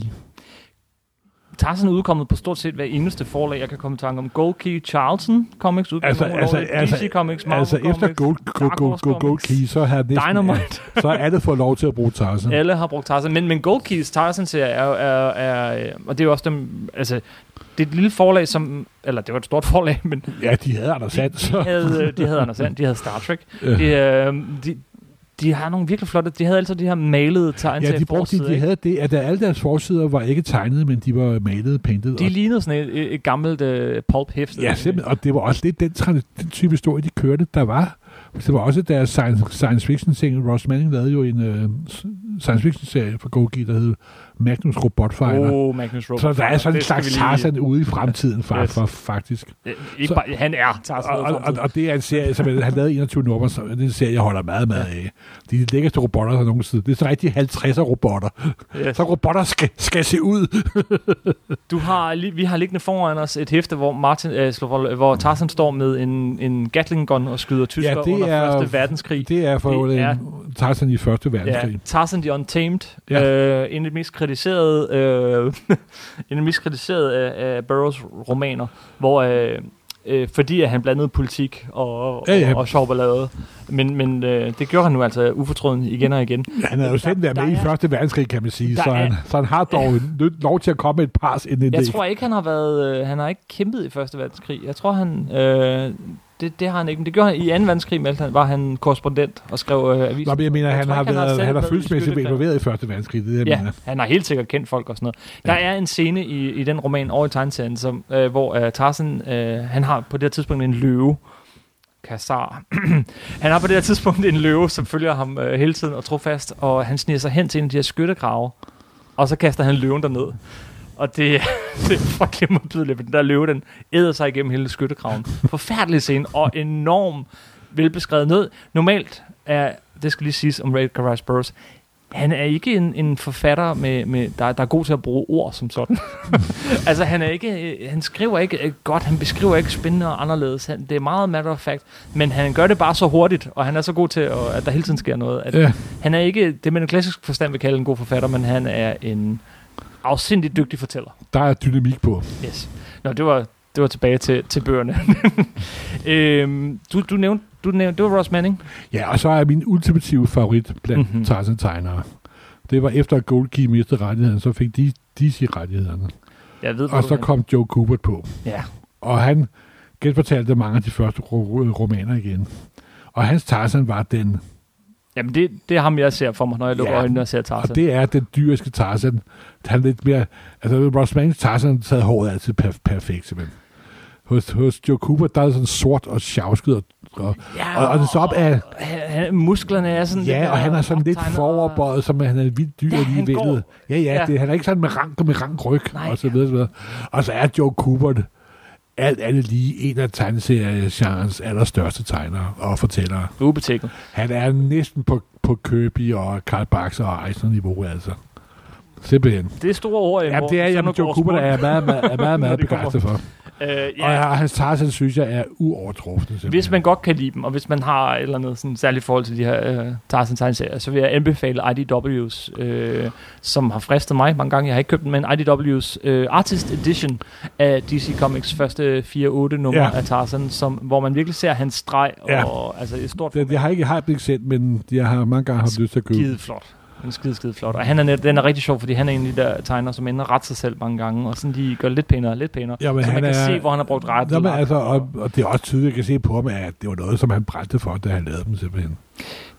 A: Tarzan er udkommet på stort set hver eneste forlag, jeg kan komme i tanke om. Gold Key Charlton Comics udkommer
B: Altså-
A: altså,
B: altså-
A: altså,
B: altså-
A: DC Comics, Marvel
B: altså
A: Comics,
B: efter Gold, Gold,
A: Dark
B: Gold,
A: Horse
B: Gold, Gold
A: Comics,
B: Key, så har næsten,
A: Dynamite.
B: så er alle fået lov til at bruge Tarzan.
A: Alle har brugt Tarzan, men, men Gold Keys Tarzan-serie er, jo- er, er, øh, og det er jo også dem, altså, det er et lille forlag, som, eller det var et stort forlag, men de
B: Ja, de havde Anders Sand, så
A: havde, øh, de havde Anders Sand, de havde Star Trek,
B: Ja.
A: de, øh, de, de har nogle virkelig flotte, de havde altså de her malede tegn
B: Ja, de brugte de, de havde det, at alle deres forsider var ikke tegnet, men de var malet, painted.
A: de
B: og,
A: lignede sådan et, et, et gammelt øh, pulp-hæfte.
B: ja, simpelthen, og det var også lidt den, tra- den type historie, de kørte, der var. Det var også deres science, science fiction ting. Ross Manning lavede jo en øh, s- science fiction-serie fra Gogi, der hed Magnus Robotfighter. Oh,
A: Oh, Magnus Robert.
B: så der er sådan en
A: Det skal
B: slags
A: vi lige-
B: Tarzan ude i fremtiden, far,
A: Yes.
B: for, faktisk.
A: Øh, Ikke
B: Så-
A: bare, han er Tarzan.
B: Og, og, og, og det er en serie, som han lavede 21 nummer, så det er en serie, jeg holder meget, meget af. De er de lækkerste robotter, der nogensinde. Det er sådan rigtig 50'er robotter.
A: Yes.
B: Så robotter skal, skal se ud.
A: Du har, lige- vi har liggende foran os et hæfte, hvor, Martin, øh, slår- hvor, hvor Tarzan står med en, en Gatling gun og skyder tysker ja,
B: det
A: under
B: er-
A: første verdenskrig.
B: Det er for
A: Det
B: det
A: er-
B: er... Tarzan i Første Verdenskrig.
A: Ja, Tarzan the Untamed,
B: Ja.
A: øh, en af de mest kritiserede, øh, en af de mest kritiserede øh, af, af Burroughs romaner, hvor øh, øh, fordi at han blandede politik og, og,
B: Ja, ja.
A: og, og sjov ballade. Men, men øh, det gjorde han nu altså ufortrødent igen og igen.
B: Ja, han havde jo selv været
A: der
B: med i
A: er-
B: Første Verdenskrig, kan man sige,
A: Der
B: så han, så han har dog nødt lov til at komme med et pars inden
A: Jeg
B: det.
A: tror ikke, han har været, øh, han har ikke kæmpet i Første Verdenskrig. Jeg tror, han... Øh, det, det har han ikke, men det gjorde han i 2. verdenskrig, meldte han, var han korrespondent og skrev øh, aviser.
B: Nå, men jeg mener,
A: Jeg
B: han
A: tror
B: har,
A: ikke, han har
B: været,
A: selv
B: han har
A: været i
B: følelsesmæssigt været
A: skyttekræg.
B: involveret i Første Verdenskrig, det er det,
A: Ja,
B: jeg mener.
A: han har helt sikkert kendt folk og sådan noget. Der er en scene i, i den roman over i tegneserien, som, øh, hvor øh, Tarzan, øh, han har på det her tidspunkt en løve. Kassar. han har på det her tidspunkt en løve, som følger ham øh, hele tiden og trofast, og han sniger sig hen til en af de her skyttegrave, og så kaster han løven derned. Og det, det er frygtelig modbydeligt, for den der løve, den æder sig igennem hele skyttegraven. Forfærdelig scene, og enorm velbeskrevet ned. Normalt er, det skal lige siges om Ray Garage Burroughs, han er ikke en, en forfatter, med, med, der, der er god til at bruge ord som sådan. altså, han, er ikke, øh, han skriver ikke øh, godt, han beskriver ikke spændende og anderledes. Han, det er meget matter of fact, men han gør det bare så hurtigt, og han er så god til, at, at der hele tiden sker noget. At
B: Ja.
A: Han er ikke det, man i klassisk forstand vil kalde en god forfatter, men han er en afsindig dygtig fortæller.
B: Der er dynamik på.
A: Yes. Nå, det var, det var tilbage til, til bøgerne. øhm, du, du, nævnte, du nævnte, det var Ross Manning.
B: Ja, og så er min ultimative favorit blandt
A: Mhm.
B: mm-hmm. Tarzan-tegnere. Det var efter at Gold Key mistede rettighederne, så fik de DC-rettighederne.
A: Jeg ved, hvor
B: Og
A: du
B: så
A: er henne.
B: kom Joe Kubert på.
A: Ja.
B: Og han genfortalte mange af de første ro- romaner igen. Og hans Tarzan var den
A: Jamen, det, det er ham, jeg ser for mig, når jeg lukker
B: Ja.
A: ja. øjnene og ser
B: Og
A: Tarzan.
B: det er den dyriske Tarzan. Han er lidt mere... Altså, Ross Mannings Tarzan taget håret altid per- perfekt, simpelthen. Hos, hos Joe Cooper, der er det sådan sort og sjavsket, og, og,
A: ja,
B: og, og det så op af...
A: han, han- musklerne er sådan... lidt
B: Ja, og han er sådan lidt
A: optegnet,
B: foroverbøjet, som han er en vild dyr
A: Ja,
B: ja, lige
A: han går.
B: væltet. Ja, ja,
A: Ja.
B: ja. Det, han er ikke sådan med rank med rank ryg,
A: Nej.
B: og så videre, så videre. Og så er Joe Cooper alt andet lige en af tegneseriegenrens allerstørste tegnere og fortællere.
A: og Ubetikket.
B: Han er næsten på, på Kirby og Karl Barks og Eisner-niveau, altså. Simpelthen.
A: Det er store ord.
B: Ja, det er jeg med Joe Cooper, der er jeg meget, meget, er meget,
A: Når
B: meget
A: de kommer.
B: begejstret for.
A: Øh,
B: Og
A: ja,
B: jeg, hans Tarzan, synes jeg, er uovertruffende. simpelthen.
A: hvis man godt kan lide dem, og hvis man har et eller andet sådan, særligt forhold til de her øh, Tarzan tegneserier, så vil jeg anbefale IDW's, øh, som har fristet mig mange gange. Jeg har ikke købt den, men IDW's øh, Artist Edition af DC Comics første 4-8 nummer
B: Ja.
A: af Tarzan, som, hvor man virkelig ser hans streg og,
B: Ja.
A: altså et stort
B: Det, jeg har ikke hype sendt, men jeg har mange gange haft lyst til at købe.
A: skide flot. Den er skide, skide flot. Og han er, net- den er rigtig sjov, fordi han er en af de der tegner, som ender ret sig selv mange gange, og sådan de gør lidt pænere, lidt pænere.
B: Ja, men
A: så man
B: han
A: kan
B: er-
A: se, hvor han har brugt ret.
B: Nå, men
A: eller-
B: altså, og, og, det er også tydeligt, at jeg kan se på ham, at det var noget, som han brændte for, da han lavede dem simpelthen.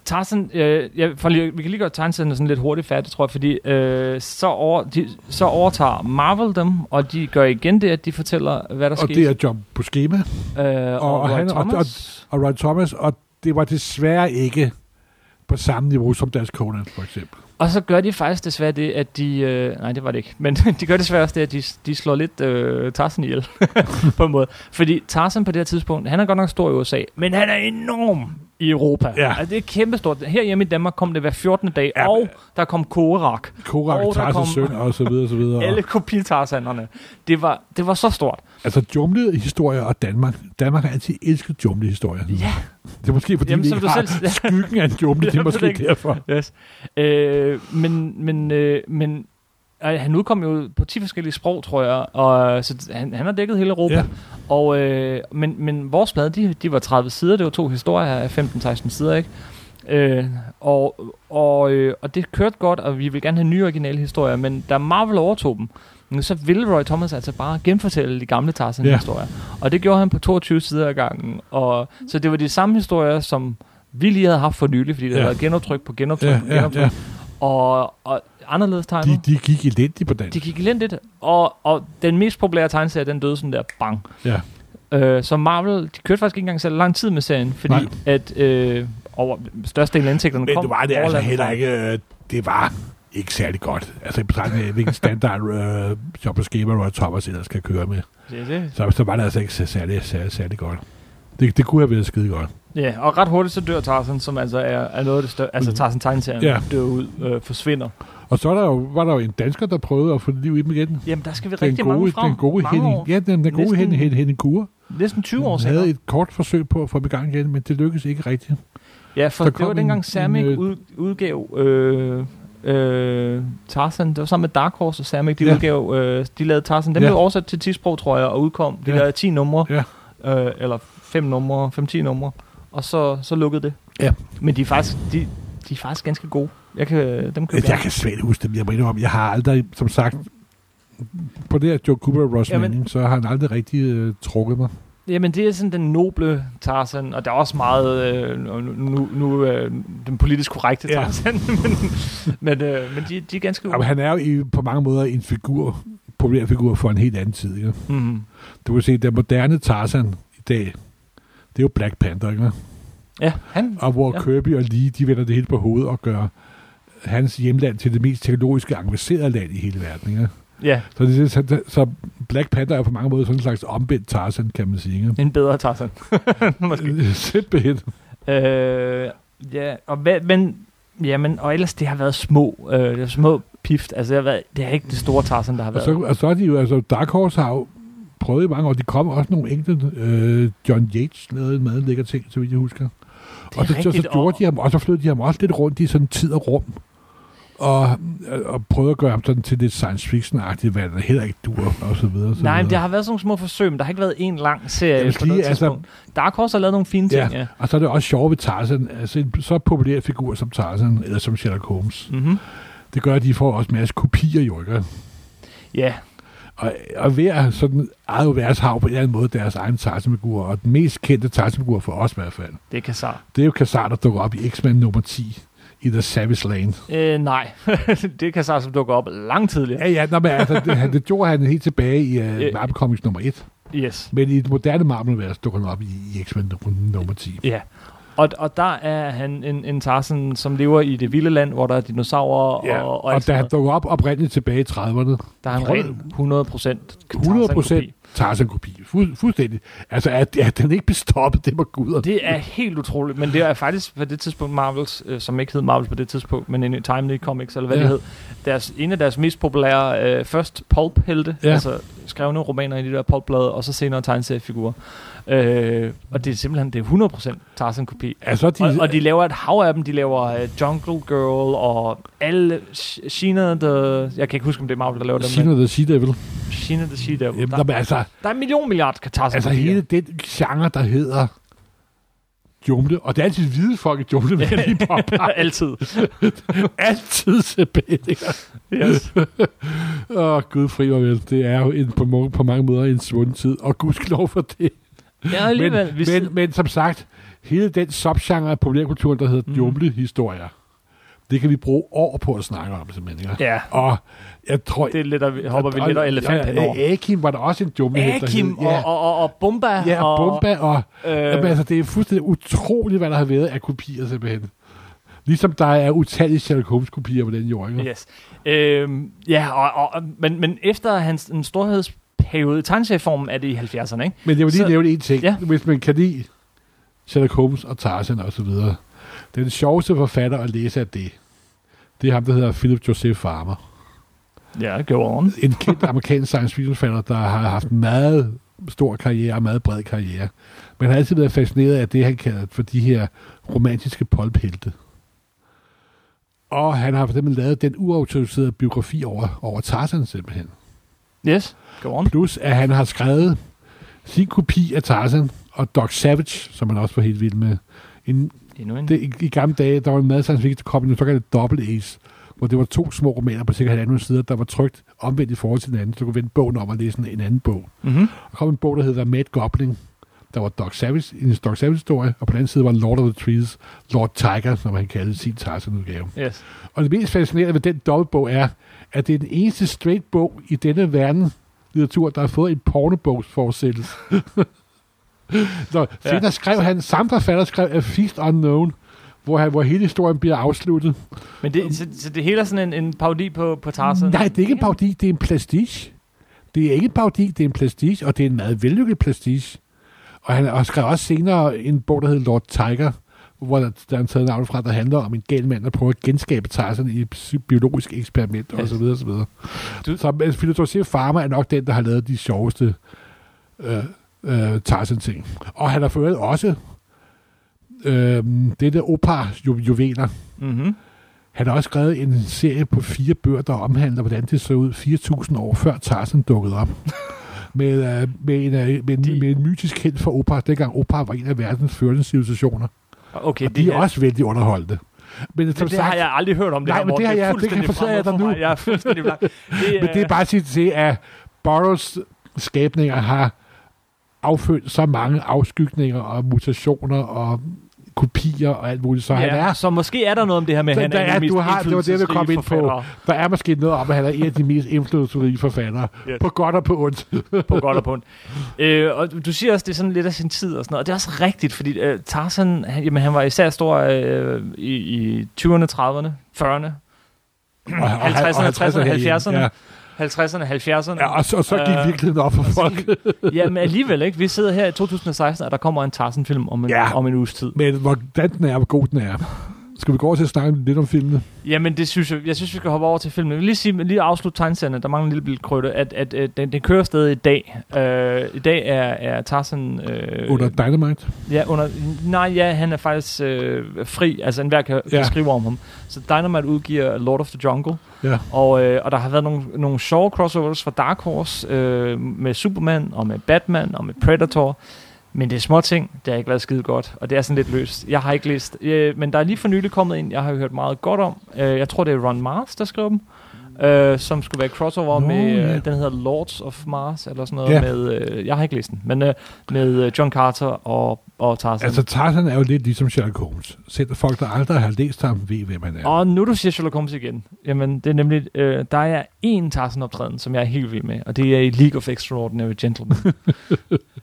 A: Tarzan, øh, jeg, for lige, vi kan lige gøre tegneserierne sådan lidt hurtigt færdigt, tror jeg, fordi øh, så, over, de, så overtager Marvel dem, og de gør igen det, at de fortæller, hvad der
B: Og
A: skete.
B: det er John Buscema
A: øh, og,
B: og
A: Roy
B: han- og- og-
A: Thomas.
B: og Ron Thomas, og det var desværre ikke på samme niveau som deres Conan, for eksempel.
A: Og så gør de faktisk desværre det, at de... Øh, nej, det var det ikke. Men de gør desværre også det, at de, de slår lidt øh, Tarzan ihjel, på en måde. Fordi Tarzan på det her tidspunkt, han er godt nok stor i USA, men han er enorm i Europa.
B: Ja.
A: Altså, det er kæmpestort. Herhjemme i Danmark kom det hver 14. dag,
B: Ja,
A: og
B: men-
A: der kom Korak. Og
B: Korak,
A: der
B: Tarzans
A: kom-
B: søn, og så videre, så videre.
A: Alle kopitarzanerne. Det var, det var så stort.
B: Altså, jumlede historier og Danmark. Danmark har altid elsket jumlede historier.
A: Ja.
B: Det er måske, fordi
A: Jamen,
B: Jamen, vi
A: som
B: ikke
A: du
B: har
A: selv-
B: selv... skyggen af en jumle. det er
A: Jamen, det
B: måske
A: er ikke-
B: derfor.
A: Yes. Øh, men men, øh, men øh, han udkom jo på 10 forskellige sprog, tror jeg, og øh, så t- han, han har dækket hele Europa.
B: Ja.
A: Og, øh, men, men vores blad, de, de var 30 sider, det var to historier af 15-16 sider, ikke? Øh, og, og, øh, og det kørte godt, og vi vil gerne have nye originale historier, men da Marvel overtog dem, nu så ville Roy Thomas altså bare genfortælle de gamle Tarzan-historier. Og det gjorde han på 22 sider ad gangen. Og, så det var de samme historier, som vi lige havde haft for nylig, fordi der
B: Ja.
A: havde været genoptryk på genoptryk
B: Ja,
A: på
B: ja,
A: genoptryk.
B: ja.
A: Og, og anderledes tegnet.
B: De,
A: De,
B: de gik elendigt på dansk.
A: de gik elendigt, og, og den mest populære tegneserie, den døde sådan der, bang.
B: Ja.
A: Øh, så Marvel, de kørte faktisk ikke engang så lang tid med serien, fordi
B: Nej.
A: at øh, over størstedelen af indtægterne
B: Men
A: kom
B: det var det altså
A: overlandet
B: heller
A: fra-
B: ikke øh, det var ikke særlig godt. Altså i betragtning af, hvilken standard øh, job og schema, Roy Thomas ellers skal køre med.
A: Det er det.
B: Så, så var det altså ikke så særlig, særlig, særlig godt. Det, det kunne have været skide godt.
A: Ja, og ret hurtigt så dør Tarzan, som altså er, er noget af det større. Altså
B: Mm.
A: Tarzan tegneserien
B: Ja.
A: ja. dør ud, øh, forsvinder.
B: Og så er der jo, var der jo en dansker, der prøvede at få liv i dem igen.
A: Jamen, der skal vi
B: Den
A: rigtig
B: gode,
A: mange frem.
B: den gode
A: mange
B: Henning,
A: år.
B: ja, den, den gode
A: Næsten-
B: Henning, Henning, Henning Kure.
A: Næsten 20 år
B: havde
A: senere.
B: et kort forsøg på at få dem i gang igen, men det lykkedes ikke rigtigt.
A: Ja, for
B: der
A: det var
B: kom en-
A: dengang Samek
B: en, øh,
A: ud, udgav øh, øh, Tarzan. Det var sammen med Dark Horse og Samek, de
B: Ja.
A: ja. udgav, øh, de lavede Tarzan. Den
B: Ja.
A: blev oversat til tisprog, tror jeg, og udkom. De
B: Ja.
A: ja. lavede 10 numre,
B: Ja.
A: øh, eller 5 numre, 5-10 numre, og så, så lukkede det.
B: Ja.
A: Men de er faktisk, de, de er faktisk ganske gode. Jeg kan, dem kan
B: Jeg kan svært huske dem, jeg mener om. Jeg har aldrig, som sagt, på det her Joe Cooper og Ross
A: Jamen-
B: Manning, så har han aldrig rigtig øh, trukket mig.
A: Jamen, det er sådan den noble Tarzan, og der er også meget, øh, nu, nu, nu øh, den politisk korrekte
B: Ja.
A: Tarzan, men, men, øh, men de, de er ganske
B: Jamen,
A: gode.
B: han er jo i, på mange måder en figur, populær figur for en helt anden tid. Ikke?
A: Mm.
B: Du kan se, den moderne Tarzan i dag, det er jo Black Panther, ikke?
A: Ja, han,
B: og hvor ja.
A: Ja.
B: Kirby og Lee, de vender det hele på hovedet og gør hans hjemland til det mest teknologisk avancerede land i hele verden. Ikke?
A: ja,
B: Så, det, så, så Black Panther er på mange måder sådan en slags omvendt Tarzan, kan man sige. Ikke?
A: en bedre Tarzan. Måske.
B: Simpelthen.
A: Øh, ja, og hvad, men, jamen, og ellers det har været små, øh, det er små pift. Altså, det har, været, det har ikke det store Tarzan, der har
B: Og
A: været.
B: så, og så er de jo, altså Dark Horse har jo prøvet i mange år, de kommer også nogle enkelte, øh, John Yates lavede en meget lækker ting, så vidt jeg husker.
A: Det er
B: Og så, så, så
A: rigtigt,
B: gjorde
A: og-
B: de ham, og så flyttede de ham også lidt rundt i sådan tid og rum, og, og prøvede at gøre ham sådan til lidt science fiction-agtigt, hvad der heller ikke dur, og så videre. Og så
A: Nej, men der
B: videre.
A: har været sådan nogle små forsøg, men der har ikke været en lang serie
B: Jeg vil
A: på
B: sige,
A: noget
B: altså-
A: tidspunkt. Dark Horse har lavet nogle fine ting, ja. ja.
B: Og så er det også sjovt ved Tarzan, altså en så populær figur som Tarzan, eller som Sherlock Holmes.
A: Mm-hmm.
B: Det gør, at de får også en masse kopier, jo ikke?
A: Ja,
B: Og, og hver sådan eget univers har jo på en eller anden måde deres egen Tarzan-figur, og den mest kendte Tarzan-figur for os i hvert fald,
A: det kan så.
B: det er jo Kassar, der dukker op i X-Men nummer 10 i The Savage Lane.
A: Øh, nej, det kan så som dukker op langt tidligere.
B: Ja, ja, nå, men altså, det, han, det gjorde han helt tilbage i uh,
A: Ja.
B: Marvel Comics nummer 1,
A: Yes.
B: men i det moderne Marvel-univers dukker han op i, i X-Men nummer, nummer 10.
A: Ja. Og, og der er han en, en Tarzan, som lever i det vilde land, hvor der er dinosaurer
B: Ja,
A: og, altså-
B: og,
A: og, alt
B: da
A: sådan
B: han
A: noget.
B: dukker op oprindeligt tilbage i 30'erne,
A: der er en ren 100 procent
B: 100 procent Tarzan-kopi. Fu- fuldstændig. Altså, at, at den ikke blev stoppet, det må gud. Og
A: Det er helt utroligt, men det er faktisk på det tidspunkt Marvels, øh, som ikke hed Marvels på det tidspunkt, men en Timely Comics, eller hvad ja.
B: Ja.
A: det hed, deres, en af deres mest populære, øh, først pulp-helte,
B: Ja.
A: ja. altså skrevne romaner i de der pulp-blade, og så senere tegneseriefigurer. Øh, og det er simpelthen, det er 100% Tarzan-kopi.
B: Altså, de,
A: Og, og de laver et hav af dem. De laver uh, Jungle Girl og alle... Sh- Sheena the... Jeg kan ikke huske, om det er Marvel, der laver dem.
B: Sino
A: men
B: the Sea Devil.
A: Sheena the She Devil.
B: Jamen,
A: Der,
B: der, altså,
A: der er en million milliard katarsen.
B: altså hele den genre, der hedder jumle, og det er altid hvide folk i jumle, men de popper
A: Altid.
B: altid tilbage. ikke?
A: Yes.
B: Åh, oh, gud fri mig vel. Det er jo en, på, må- på mange måder en svunden tid, og gudskelov for det.
A: ja,
B: Men,
A: alligevel. vi,
B: men, men som sagt, hele den subgenre af populærkulturen, der hedder mm.
A: Mhm.
B: jumlehistorier, det kan vi bruge år på at snakke om, simpelthen. Ikke?
A: Ja,
B: Og jeg tror...
A: det er lidt, der hopper vi lidt og elefanten over.
B: over. Akim var der også en jumle.
A: Akim og, og, og, og Bomba.
B: Ja, og Bomba, og
A: Øh,
B: Jamen, altså, det er fuldstændig utroligt, hvad der har været af kopier simpelthen. Ligesom der er utallige Sherlock Holmes-kopier på den jord. Ikke?
A: Yes. Øhm, ja, og, og, og- men, men efter hans en storhedsperiode i tegneserieformen er det i 70'erne, ikke?
B: Men jeg vil lige
A: Så-
B: nævne en ting. Ja.
A: Ja.
B: Hvis man kan lide Sherlock Holmes og Tarzan og så videre. Den sjoveste forfatter at læse af det, det er ham, der hedder Philip Joseph Farmer.
A: Ja, go on.
B: En kendt amerikansk science fiction forfatter, der har haft en meget stor karriere og meget bred karriere. Men har altid været fascineret af det, han kalder for de her romantiske polphelte. Og han har for eksempel lavet den uautoriserede biografi over, over Tarzan simpelthen.
A: Yes, go on.
B: Plus, at han har skrevet sin kopi af Tarzan og Doc Savage, som han også var helt vild med. En,
A: Endnu en.
B: det, i, I gamle dage, der var en meget science fiction, der kom en såkaldt dobbelt ace, hvor det var to små romaner på cirka halvanden sider, der var trygt omvendt i forhold til hinanden, så du kunne vende bogen om og læse en, en anden bog.
A: Mm-hmm.
B: Der kom en bog, der hedder The Mad Goblin, der var Doc Savage, en Doc Savage-historie, og på den anden side var Lord of the Trees, Lord Tiger, som han kaldte sin Tarzan-udgave.
A: Yes.
B: Og det mest fascinerende ved den dobbeltbog er, at det er den eneste straight bog i denne verden litteratur, der har fået en pornobogsforsættelse. Nå, senere ja. skrev han, samme forfatter skrev A Feast Unknown, hvor, han, hvor hele historien bliver afsluttet.
A: Men det, så, så det hele er sådan en, en parodi på, på Tarzan?
B: Nej, det er ikke en parodi, det er en prestige. Det er ikke en parodi, det er en prestige, og det er en meget vellykket prestige. Og han og skrev også senere en bog, der hedder Lord Tiger, hvor der, der er en taget navn fra, der handler om en gal mand, der prøver at genskabe Tarzan i et psy- biologisk eksperiment, og så videre, og så videre.
A: Du-
B: Så altså, Philosophy Farmer er nok den, der har lavet de sjoveste øh, øh, Tarzan-ting. Og han har for øvrigt også øh, det der opar ju- juveler.
A: Mm-hmm.
B: Han har også skrevet en serie på fire bøger, der omhandler, hvordan det så ud 4.000 år før Tarzan dukkede op. med, øh, med, en, øh, med, en,
A: De-
B: med en mytisk kendt for opar, dengang opar var en af verdens førende civilisationer.
A: Okay,
B: Og de er også vældig underholdte. Men som
A: Men det
B: sagt,
A: har jeg aldrig hørt om. Det
B: Nej,
A: her,
B: men
A: Morten.
B: det har
A: er
B: jeg- det kan
A: fuldstændig
B: fortælle jeg dig
A: fremmed for
B: nu.
A: mig. Jeg er fuldstændig blank. Det,
B: men det er bare sit til, at Burroughs skabninger har affødt så mange afskygninger og mutationer og kopier og alt muligt, så ja. han
A: ja,
B: er
A: så måske er der noget om det her med, at
B: Så
A: han
B: der
A: er, en af
B: er-
A: de mest
B: du har- det var det, vi kom
A: indflydelsesrige
B: ind på.
A: forfattere.
B: Der er måske noget om, at han er en af de mest indflydelsesrige forfattere.
A: Yes.
B: Yes. På godt og på ondt.
A: på godt og på ondt. Øh, og du- du siger også, det er sådan lidt af sin tid og sådan noget, og det er også rigtigt, fordi øh, Tarzan, han, jamen, han var især stor øh, i, i 20'erne, 30'erne, 40'erne,
B: Og- og- og-
A: 50'erne, 60'erne, 70'erne,
B: Ja.
A: 50'erne, 70'erne.
B: Ja, og så, og så gik
A: Øh,
B: virkeligheden op for folk.
A: Jamen alligevel, ikke? Vi sidder her i 2016, og der kommer en Tarzan-film om en,
B: Ja.
A: om en uges tid.
B: Men hvordan den er, og hvor god den er. Skal vi gå over til at snakke lidt om filmene?
A: Jamen, det synes jeg, jeg synes, vi skal hoppe over til filmen. Jeg vil lige, sige, lige afslutte tegnserne, der mangler en lille bitte krøtte, at, at, at den, den kører stadig i dag. Øh, I dag er, er Tarzan... Øh,
B: Under Dynamite?
A: Ja, under, nej, ja, han er faktisk øh, fri, altså enhver kan, kan
B: Ja.
A: skrive om ham. Så Dynamite udgiver Lord of the Jungle,
B: Ja.
A: og, øh, og der har været nogle, nogle sjove crossovers fra Dark Horse øh, med Superman og med Batman og med Predator. Men det er små ting, det har ikke været skide godt, og det er sådan lidt løst. Jeg har ikke læst, øh, men der er lige for nylig kommet en, jeg har hørt meget godt om. Øh, jeg tror, det er Ron Mars, der skrev dem. Øh, som skulle være crossover
B: Nå,
A: med,
B: ja.
A: øh, den hedder Lords of Mars, eller sådan noget,
B: Ja.
A: med, øh, jeg har ikke læst den, men øh, med øh, John Carter og, og Tarzan.
B: Altså, Tarzan er jo lidt ligesom Sherlock Holmes. Selv folk, der aldrig har læst ham, ved, hvem han er.
A: Og nu du siger Sherlock Holmes igen, jamen det er nemlig, øh, der er en Tarzan-optræden, som jeg er helt vild med, og det er i League of Extraordinary Gentlemen.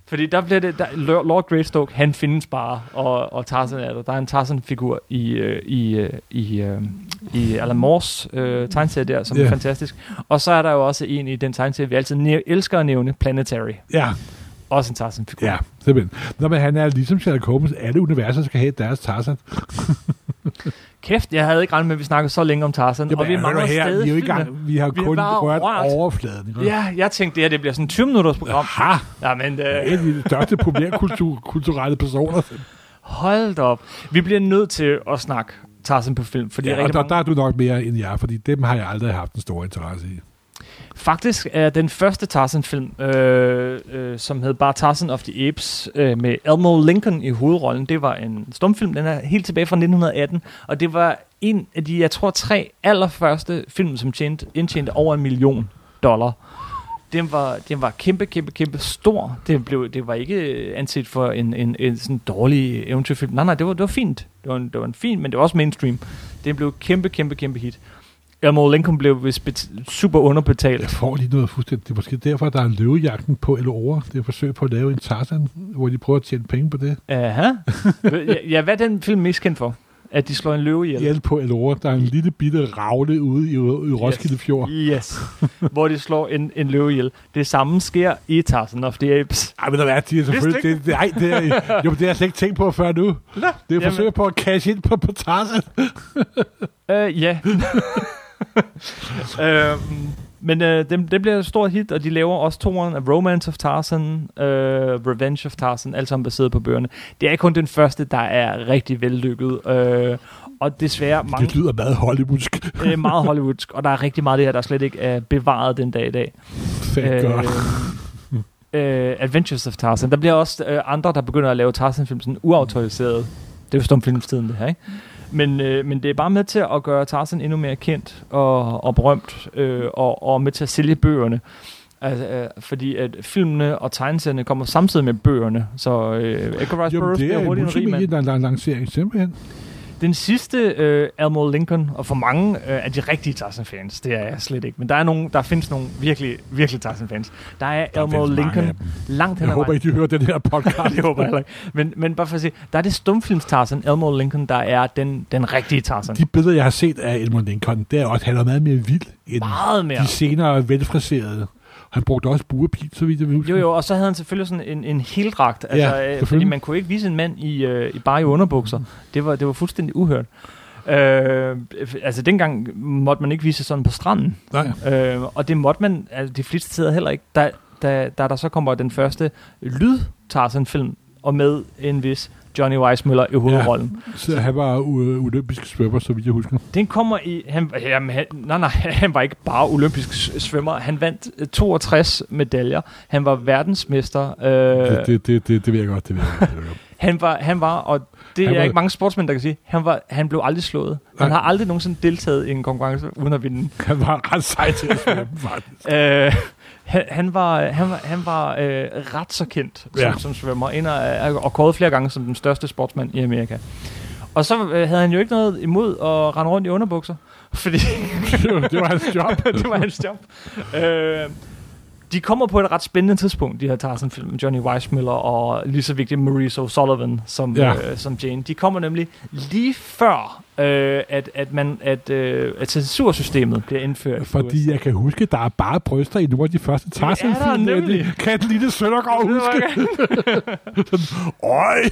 A: Fordi der bliver det, der, Lord- Lord Greystoke, han findes bare, og, og Tarzan er der. Der er en Tarzan-figur i, øh, i, øh, i, øh, i Alan Moores øh, tegneserie der, som yeah. er
B: Ja.
A: fantastisk. Og så er der jo også en i den tegneserie, vi altid næ- elsker at nævne, Planetary.
B: Ja,
A: Også en Tarzan-figur.
B: ja, simpelthen. Nå, men han er ligesom Sherlock Holmes. Alle universer skal have deres Tarzan.
A: Kæft, jeg havde ikke regnet med, at vi snakkede så længe om Tarzan, og vi
B: hør nu
A: mangler
B: her,
A: stadig
B: vi, er jo i
A: filmen.
B: gang, vi har
A: Vi har
B: kun
A: bare
B: rørt
A: rørt.
B: overfladen. ikke?
A: Ja, jeg tænkte, det her det bliver sådan 20 minutters program.
B: Aha,
A: Ja, men
B: en
A: øh,
B: af de største populærkulturelle personer.
A: hold da op. Vi bliver nødt til at snakke Tarzan på film, fordi ja,
B: Ja, og
A: rigtig
B: der,
A: mange...
B: der er du nok mere end jeg, fordi dem har jeg aldrig haft en stor interesse i.
A: Faktisk er den første Tarzan-film, øh, øh, som hed bare Tarzan of the Apes, øh, med Elmo Lincoln i hovedrollen, det var en stumfilm, den er helt tilbage fra 1918, og det var en af de, jeg tror, tre allerførste film, som tjente, indtjente over en million dollar. Den var, den var kæmpe, kæmpe, kæmpe stor. Det, blev, det var ikke øh, anset for en, en, en sådan dårlig eventyrfilm. Nej, nej, det var, det var fint. Det var, en, det var en fin, men det var også mainstream. Den blev kæmpe, kæmpe, kæmpe hit. Elmo Lincoln blev vist bet- super underbetalt.
B: Jeg får lige noget fuldstændig. Det er måske derfor, der er løvejagten på El Ore. Det er et forsøg på at lave en Tarzan, hvor de prøver at tjene penge på det.
A: Aha. ja, ja, hvad er den film mest kendt for? At de slår en løve ihjel?
B: Hjælp på El Ore. Der er en lille bitte ravle ude i, i Roskilde Fjord.
A: Yes. Hvor de slår en, en løve ihjel. Det samme sker i Tarzan of the Apes.
B: Ej, men der er, de er selvfølgelig...
A: Vidste du
B: Det, det, ej, det er, jo, men det har jeg slet ikke tænkt på før nu. Det er et
A: Jamen.
B: forsøg på at cash ind på, på Tarzan.
A: Øh, ja. øhm, men øh, det, det bliver et stort hit, og de laver også toeren af Romance of Tarzan, øh, Revenge of Tarzan, alt sammen baseret på bøgerne. Det er kun den første, der er rigtig vellykket, øh, og desværre mange...
B: Det lyder meget hollywoodsk.
A: øh, meget hollywoodsk, og der er rigtig meget af det her, der slet ikke er bevaret den dag i dag.
B: Thank God.
A: øh, Adventures of Tarzan. Der bliver også øh, andre, der begynder at lave Tarzan-film sådan uautoriseret. Det er jo stumfilmstiden, det her, ikke? Men, øh, men det er bare med til at gøre Tarzan endnu mere kendt og, og berømt, øh, og, og med til at sælge bøgerne. Altså, øh, fordi at filmene og tegneserierne kommer samtidig med bøgerne, så øh, Edgar Rice
B: Jamen,
A: Burroughs
B: det
A: bliver
B: er
A: hurtigt en rig mand.
B: multimedie, der er en lancering, simpelthen.
A: Den sidste øh, Elmore Lincoln, og for mange øh, af de rigtige Tarzan-fans, det er jeg slet ikke, men der, er nogle, der findes nogle virkelig, virkelig Tarzan-fans. Der er
B: Der
A: der Elmore
B: findes mange af
A: Lincoln
B: dem.
A: langt hen
B: Jeg
A: ad
B: håber
A: vejen.
B: ikke, de hører den her podcast.
A: det håber jeg heller ikke. Men, men bare for at sige, der er det stumfilms Tarzan, Elmore Lincoln, der er den, den rigtige Tarzan.
B: De billeder, jeg har set af Edmund Lincoln, det er også, han er meget mere vild end
A: Meget mere.
B: de senere velfriserede. Han brugte også buerpil, så vidt jeg vil huske.
A: Jo, jo, og så havde han selvfølgelig sådan en, en heldragt, altså,
B: Ja,
A: ja, øh, fordi
B: selvfølgelig.
A: man kunne ikke vise en mand i, øh, i bare i underbukser. Det var, det var fuldstændig uhørt. Øh, altså, dengang måtte man ikke vise sådan på stranden,
B: Nej.
A: øh, og det måtte man altså, de fleste steder heller ikke. Da, da, da der så kommer den første lyd film og med en vis Johnny Weissmuller i hovedrollen.
B: Så han var u- olympisk svømmer, så vidt jeg husker.
A: Den kommer i... Han, jamen, han, nej, nej, han var ikke bare olympisk s- svømmer. Han vandt øh, 62 medaljer. Han var verdensmester.
B: Det,
A: Øh,
B: det, det, det, det ved jeg godt, det ved jeg godt. det ved jeg godt.
A: han, var, han var, og det
B: Han
A: er
B: var-
A: ikke mange sportsmænd, der kan sige, han, var, han blev aldrig slået. Han
B: Nej.
A: har aldrig nogensinde deltaget i en konkurrence uden at vinde.
B: Han var ret sej til at svømme, faktisk.
A: Øh, han, han var, han var, han var øh, ret så kendt som,
B: Ja.
A: ja. som svømmer, ind og, og kåret flere gange som den største sportsmand i Amerika. Og så øh, havde han jo ikke noget imod at rende rundt i underbukser, fordi
B: Det var- det var hans job.
A: det var hans job. Øh, de kommer på et ret spændende tidspunkt, de her Tarzan-film. Johnny Weissmuller og lige så vigtigt Maurice O'Sullivan som,
B: Ja.
A: ja. øh, som Jane. De kommer nemlig lige før, øh, at, at, man, at, øh, at censursystemet bliver indført. i USA.
B: Fordi jeg kan huske, der er bare bryster i nogle af de første tarzan
A: der nemlig.
B: Kan den lille Søndergaard huske? Øj!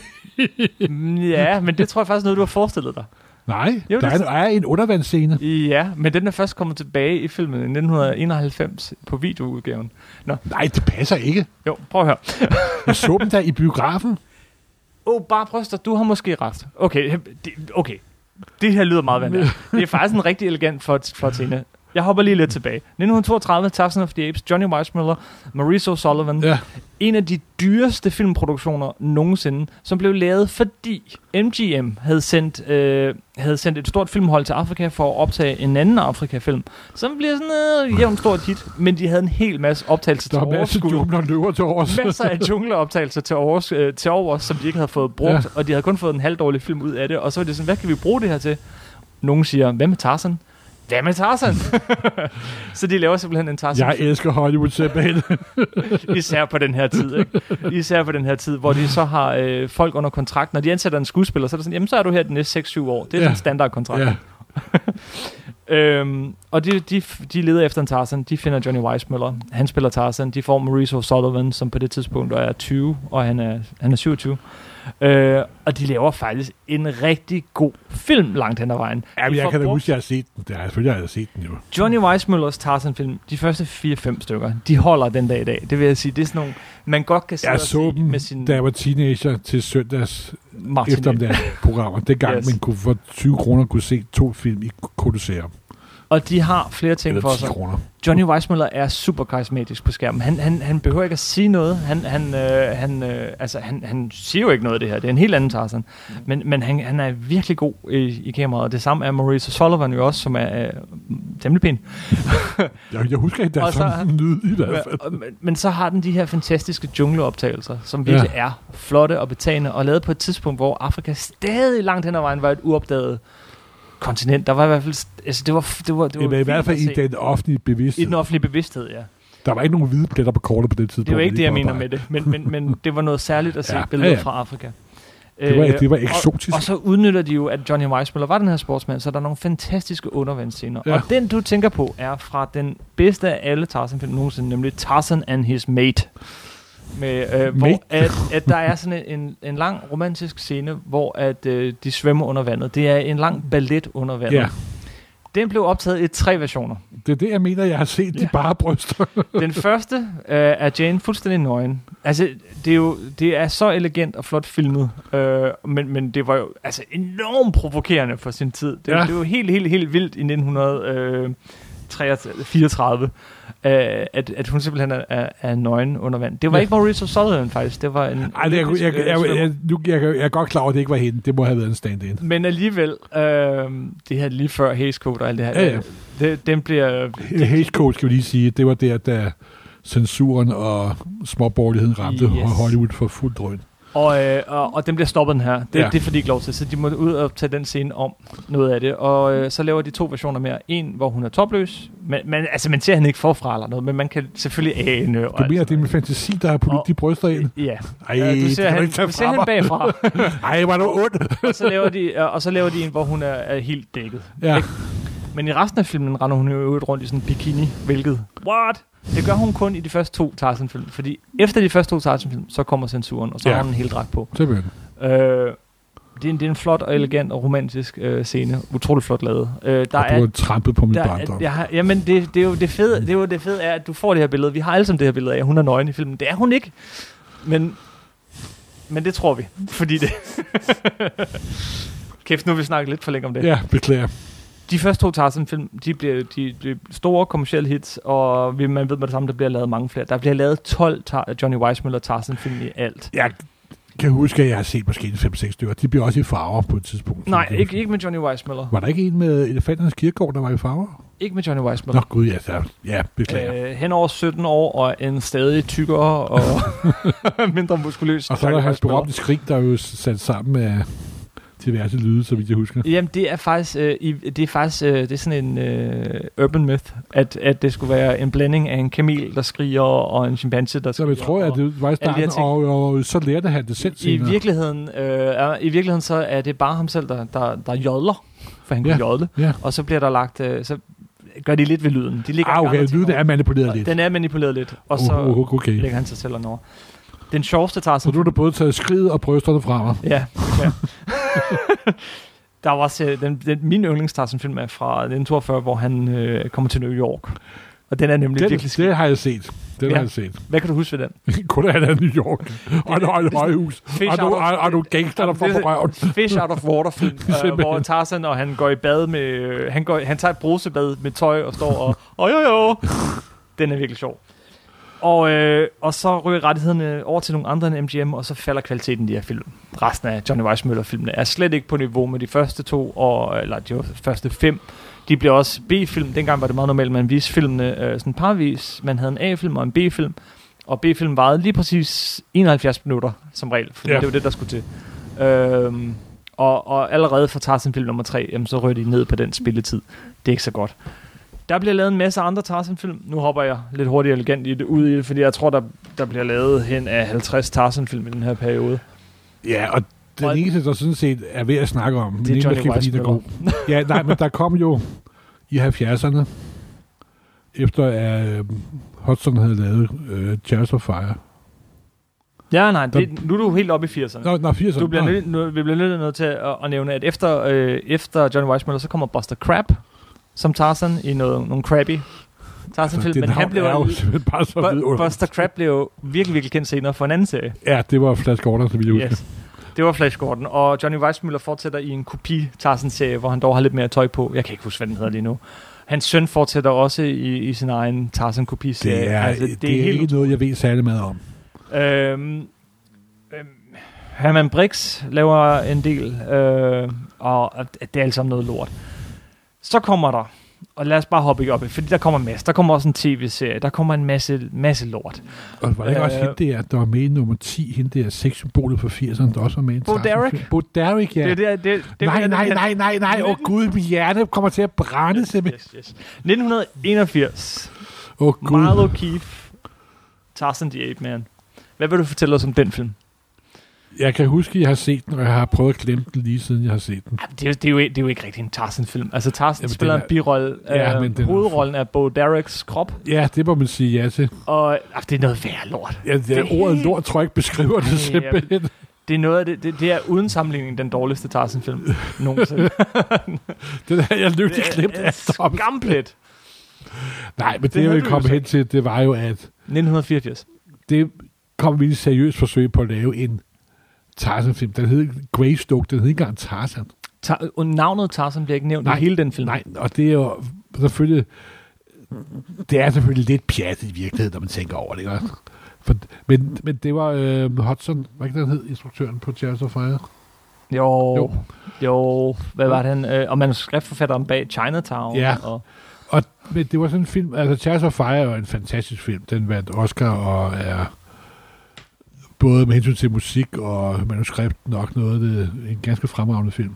A: ja, men det tror jeg faktisk er noget, du har forestillet dig.
B: Nej,
A: Jo,
B: jo, der er,
A: det-
B: en, er en undervandsscene.
A: Ja, men den er først kommet tilbage i filmen i 1991 på videoudgaven.
B: Nej, det passer ikke.
A: Jo, prøv at høre.
B: Jeg så dem der i biografen.
A: Mm. Åh, oh, bare bryster, du har måske ret. Okay, he- det, okay. det her lyder meget vanvittigt. Det er faktisk en rigtig elegant for, for Tina. Jeg hopper lige lidt tilbage. 1932, Tarzan of the Apes, Johnny Weissmuller, Maurice O'Sullivan.
B: Ja.
A: En af de dyreste filmproduktioner nogensinde, som blev lavet, fordi MGM havde sendt, øh, havde sendt et stort filmhold til Afrika for at optage en anden Afrika-film, som bliver sådan øh, jævnt stort hit, men de havde en hel masse optagelser
B: Der
A: til
B: er masser af
A: overskud
B: jumler løver til års.
A: masser af jungleoptagelser til over, øh, til over, som de ikke havde fået brugt,
B: Ja.
A: ja. og de havde kun fået en halvdårlig film ud af det, og så var det sådan, hvad kan vi bruge det her til? Nogen siger, hvad med Tarzan? Hvad med Tarzan? så de laver simpelthen en Tarzan,
B: Jeg elsker Hollywood simpelthen.
A: især på den her tid, ikke? Især på den her tid, hvor de så har øh, folk under kontrakt. Når de ansætter en skuespiller, så er det sådan, jamen så er du her de næste 6-7 år. Det er ja.
B: Ja.
A: sådan en standardkontrakt.
B: ja.
A: Øhm, og de, de, de leder efter en Tarzan. De finder Johnny Weissmuller. Han spiller Tarzan. De får Maurice O'Sullivan, som på det tidspunkt er 20, og han er, han er 27. Øh, og de laver faktisk en rigtig god film langt hen ad vejen.
B: Jamen,
A: De
B: jeg
A: får
B: kan da
A: brugt
B: huske, at jeg har set den. Det har jeg selvfølgelig har jeg set den jo.
A: Johnny Weissmullers Tarzan-film, de første 4-5 stykker, de holder den dag i dag. Det vil jeg sige, det er sådan nogle, man godt kan sidde
B: Jeg
A: og
B: så
A: se
B: dem,
A: med sin
B: da jeg var teenager til søndags
A: Martin.
B: eftermiddagsprogrammer. Dengang
A: Yes.
B: yes. man kunne for 20 kroner kunne se to film i Colosseum.
A: Og de har flere ting
B: Eller
A: for
B: 10
A: sig.
B: kroner.
A: Johnny Weissmuller er super karismatisk på skærmen. Han, han, han behøver ikke at sige noget. Han, han, øh, han, øh, altså, han, han siger jo ikke noget af det her. Det er en helt anden Tarzan.
B: Mm.
A: Men, men han, han er virkelig god i, i kameraet. Og det samme er Maurice Sullivan jo også, som er øh, temmelig pæn.
B: Jeg, jeg husker ikke, der er
A: Og så-
B: sådan en lyd i hvert fald.
A: Men, men- men så har den de her fantastiske jungleoptagelser, som virkelig ja. er flotte og betagende, og lavet på et tidspunkt, hvor Afrika stadig langt hen ad vejen var et uopdaget kontinent. Der var i hvert fald... st- Altså, det var, det var, det var
B: Jamen, I hvert
A: vildt
B: fald
A: at
B: i
A: se.
B: den offentlige
A: I
B: bevidsthed.
A: den offentlige bevidsthed, ja.
B: Der var ikke nogen hvide pletter på kortet på det tidspunkt.
A: Det var ikke det, jeg mener
B: påpege.
A: med det, men, men, men det var noget særligt at se
B: Ja,
A: ja, billeder
B: ja, ja.
A: fra Afrika. Øh,
B: Det var, det var
A: Og,
B: eksotisk.
A: og så udnytter de jo, at Johnny Weissmuller var den her sportsmand, så der er nogle fantastiske undervandsscener.
B: Ja.
A: Ja. Og den, du tænker på, er fra den bedste af alle Tarzan-film nogensinde, nemlig Tarzan and His Mate. Med, øh,
B: Mate?
A: hvor at, at der er sådan en, en lang romantisk scene, hvor at øh, de svømmer under vandet. Det er en lang ballet under vandet.
B: Ja,
A: Ja. Den blev optaget i tre versioner.
B: det er det, jeg mener, jeg har set de bare bryster.
A: Den første øh, er Jane fuldstændig nøgen. Altså, det er jo det er så elegant og flot filmet, øh, men, men det var jo altså enormt provokerende for sin tid. Det,
B: Ja.
A: ja. det var helt, helt, helt vildt i 1934, øh, at, at hun simpelthen er, er, er nøgen under vand. Det var
B: Ja.
A: ja. ikke Maurice O'Sullivan faktisk, det var en...
B: Ej, det, jeg, jeg, jeg, jeg, jeg, nu- jeg, jeg, jeg er godt klar over, at det ikke var hende. Det må have været en stand-in.
A: men alligevel, øh, det her lige før Hays Code og alt det her, øh,
B: Ja, ja.
A: Det, den bliver
B: Hays Code, skal vi lige sige, det var der, da censuren og småborgerligheden ramte
A: Yes.
B: yes. Hollywood for fuld drøn.
A: Og, øh, og, og den bliver stoppet den her. Det,
B: Ja.
A: ja. det får de ikke lov til, så de må ud og tage den scene om noget af det. Og øh, så laver de to versioner mere. En, hvor hun er topløs. Men, man, altså, man ser hende ikke forfra eller noget, men man kan selvfølgelig ane. og
B: Du
A: alt
B: mener,
A: sådan
B: det er min fantasi, der har puttet
A: Og-
B: de bryster ind?
A: noget. Ja,
B: Ej,
A: Ja, du
B: det
A: ser
B: kan du
A: hende,
B: ikke tage
A: du ser
B: fra
A: hende
B: mig.
A: bagfra.
B: Ej, var du ondt?
A: og, så laver de, øh, og så laver de en, hvor hun er, er helt dækket.
B: Ja.
A: Men i resten af filmen render hun jo i øvrigt rundt i sådan en bikini, hvilket... What? Det gør hun kun i de første to Tarzan-film, fordi efter de første to Tarzan-film, så kommer censuren, og så
B: Ja.
A: ja. har hun en hel dragt på.
B: Simpelthen.
A: Øh, det, er en, det er en flot og elegant og romantisk øh, scene. Utrolig flot lavet. Øh, der
B: Og du
A: er,
B: har trampet på min
A: der, er-
B: barndom.
A: jeg har, jamen, det, det, er jo det, fede, det er jo det fede er, at du får det her billede. Vi har alle sammen det her billede af, at hun er nøgen i filmen. Det er hun ikke. Men, men det tror vi. Fordi det... Kæft, nu har vi snakket lidt for længe om det.
B: Ja, beklager.
A: De første to Tarzan-film, de bliver de, de store kommercielle hits, og vi- man ved med det samme, der bliver lavet mange flere. Der bliver lavet 12 tar- Johnny Weissmuller Tarzan-film i alt.
B: Jeg kan huske, at jeg har set måske en 5-6 stykker. De bliver også i farver på et tidspunkt.
A: Nej,
B: Sådan,
A: ikke, ikke med Johnny Weissmuller.
B: Var der ikke en med Elefanternes Kirkegård, der var i farver?
A: Ikke med Johnny
B: Nå
A: Weissmuller.
B: gud, ja, så, ja beklager. Øh,
A: Øh, hen over 17 år, og en stadig tykkere og mindre muskuløs.
B: og så er der
A: Johnny
B: hans
A: Weissmuller.
B: berømte skrig, der er jo sat sammen med diverse lyde, så vidt jeg husker.
A: Jamen, det er faktisk, øh, i, det er faktisk øh, det er sådan en øh, urban myth, at, at det skulle være en blanding af en kamel, der skriger, og en chimpanse, der
B: Så
A: skriger.
B: Altså, jeg tror, at
A: og-
B: det var i
A: alle de her
B: starten, og, og, så lærte han det selv
A: I
B: senere.
A: virkeligheden, øh, er, I virkeligheden så er det bare ham selv, der, der, der jodler, for han
B: Ja.
A: kan jodle,
B: Ja.
A: og så bliver der lagt, øh, så gør de lidt ved lyden. De ligger
B: Ah, okay, lyden er manipuleret lidt.
A: lidt. Den er manipuleret lidt, og så
B: oh, oh, okay.
A: lægger han sig selv over. Den sjoveste tager
B: Så du har da både taget skridt og brysterne fra mig.
A: Ja, ja. Der var også, øh, den, den, min yndlingstarsen-film er fra 1942, hvor han øh, kommer til New York. Og den er nemlig
B: Den,
A: virkelig skidt.
B: det har jeg set. Den
A: Ja.
B: har jeg set.
A: Hvad kan du huske ved den?
B: Kun at han er i New York. Og der er et højhus.
A: Fish
B: Og du
A: out of-
B: er, er du gangster, der får på røven.
A: Fish out of water film, øh, hvor
B: Simpelthen.
A: Tarzan og han går i bad med... Øh, han, går, han tager et brusebad med tøj og står og... Åh, jo, jo. Den er virkelig sjov. Og, øh, og så ryger rettighederne over til nogle andre end MGM, og så falder kvaliteten i de her film. Resten af Johnny Weissmuller-filmene er slet ikke på niveau med de første to, og, eller de første fem. De bliver også B-film. Dengang var det meget normalt, at man viste filmene øh, sådan parvis. Man havde en A-film og en B-film. Og B-film varede lige præcis 71 minutter som regel, fordi
B: Ja.
A: ja. det var det, der skulle til. Øhm, og, og allerede fra Tarzan-film nummer 3, jamen, så rører de ned på den spilletid. Det er ikke så godt. Der bliver lavet en masse andre Tarzan-film. Nu hopper jeg lidt hurtigt og elegant i det, ud i det, fordi jeg tror, der, der bliver lavet hen af 50 Tarzan-film i den her periode.
B: Ja, og den
A: Og-
B: eneste, der sådan set er ved at snakke om, men
A: Det er
B: ikke
A: Johnny
B: måske, fordi den er god. Ja, nej, men der kom jo i 70'erne, efter at øh, Hudson havde lavet øh, Charles of Fire.
A: Ja, nej, det, nu er du helt oppe i 80'erne.
B: Nå, nå 80'erne.
A: Du bliver
B: Nå.
A: nødt, nu, vi bliver nødt nødt til at, at nævne, at efter, øh, efter John Weissmuller, så kommer Buster Crab som Tarzan i noget, nogle crappy Tarzan-film.
B: Altså,
A: men
B: det
A: han
B: navn
A: blev
B: er jo simpelthen bare så
A: Bu-
B: vidunderligt.
A: Buster Crab blev jo virkelig, virkelig kendt senere for en anden serie.
B: Ja, det var Flash Gordon, som vi husker.
A: Yes. Det var Flash Gordon, og Johnny Weissmuller fortsætter i en kopi Tarzan-serie, hvor han dog har lidt mere tøj på. Jeg kan ikke huske, hvad den hedder lige nu. Hans søn fortsætter også i, i sin egen Tarzan-kopi-serie.
B: Det er, altså, det, det er, ikke noget, jeg ved særlig meget om.
A: Øhm, øhm, Herman Brix laver en del, øh, og og det er alt sammen noget lort. Så kommer der, og lad os bare hoppe op i, fordi der kommer en masse. Der kommer også en tv-serie, der kommer en masse, masse lort.
B: Og var det ikke øh, også
A: Øh,
B: hende der, der var med i nummer 10, hende der sexsymbolet for 80'erne, der også var med i en
A: Bo Derek?
B: Tarzan-film? Bo Derek, ja.
A: Det, er det, det, det, det
B: nej,
A: er-
B: nej, nej, nej, nej. Åh oh, gud, min hjerne kommer til at brænde simpelthen.
A: Yes, yes. 1981.
B: Åh oh, gud.
A: Marlo Keefe. Tarzan the Ape Man. Hvad vil du fortælle os om den film?
B: Jeg kan huske, at jeg har set den, og jeg har prøvet at glemme den lige siden, jeg har set den.
A: Ej, men Det er, jo- det, er jo, ikke- det er jo ikke rigtig en Tarzan-film. Altså, Tarzan
B: Jamen,
A: spiller
B: den
A: en birolle.
B: Ja,
A: øh,
B: men den er-
A: hovedrollen er Bo Dereks krop.
B: Ja, det må man sige ja til.
A: Og ah, det er noget værre lort.
B: Ja, det,
A: er
B: det ordet
A: helt-
B: lort tror jeg ikke beskriver det
A: Ej, jamen.
B: simpelthen.
A: Det er, noget af det, det, det er uden sammenligning den dårligste Tarzan-film nogensinde.
B: Det har jeg lykkelig glemt
A: det er
B: alt om.
A: skamplet.
B: Nej, men det,
A: havde
B: jeg ville
A: du jo
B: komme
A: så
B: hen
A: ikke.
B: til, det var jo, at
A: 1984.
B: det kom vi i et seriøst forsøg på at lave en Tarzan-film. Den hed Greystoke, den hed ikke engang Tarzan.
A: Ta- og navnet Tarzan bliver ikke nævnt
B: Nej,
A: i hele den film.
B: Nej, og det er jo selvfølgelig... Det er selvfølgelig lidt pjat i virkeligheden, når man tænker over det. ikke også? For, men, men det var øh, Hudson, var ikke det, han hed, instruktøren på Charles of Fire?
A: Jo,
B: Jo.
A: jo, jo hvad var det han? Øh, og manuskriptforfatteren bag Chinatown.
B: Ja.
A: Og,
B: Og men det var sådan en film, altså Charles of Fire er jo en fantastisk film. Den vandt Oscar og er både med hensyn til musik og manuskript nok noget, det er en ganske fremragende film.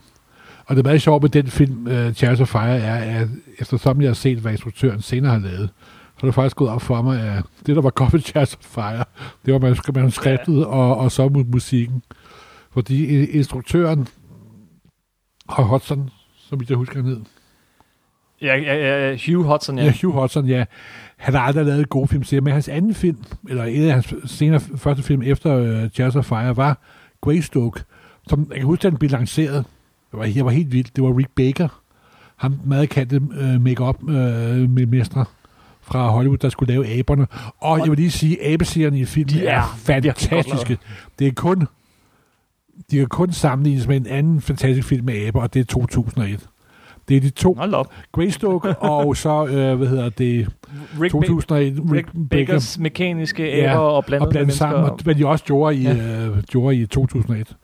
B: Og det meget sjovt med den film, uh, Chariots of Fire, er, at eftersom jeg har set, hvad instruktøren senere har lavet, så er det faktisk gået op for mig, at det, der var godt ved Chariots of Fire, det var manus- manuskriptet ja. og, og så mu- musikken. Fordi i- instruktøren, og Hudson, som jeg husker, han hed.
A: Ja, ja, ja, Hugh Hudson, ja.
B: Ja. ja, Hugh Hudson, ja. Han har aldrig lavet gode film til, men hans anden film, eller en af hans senere første film efter uh, Jazz of Fire, var Greystoke, som jeg kan huske, da den blev lanceret. Det var, jeg var helt vildt. Det var Rick Baker, ham meget kendte uh, make-up uh, mestre fra Hollywood, der skulle lave aberne. Og jeg vil lige sige, abeserierne i filmen
A: De
B: de
A: er
B: er,
A: virkelig godt
B: fantastiske. Det er kun de kan kun sammenlignes med en anden fantastisk film med aber, og det er 2001. Det er de to
A: Hold op.
B: Greystoke, og så, øh, hvad hedder det,
A: Rick,
B: 2001,
A: ba-
B: Rick
A: Rick
B: Baker,
A: Bakers mekaniske æber
B: Ja,
A: og blandede
B: og blandet sammen, og, hvad de også gjorde i, ja. øh, gjorde i 2001.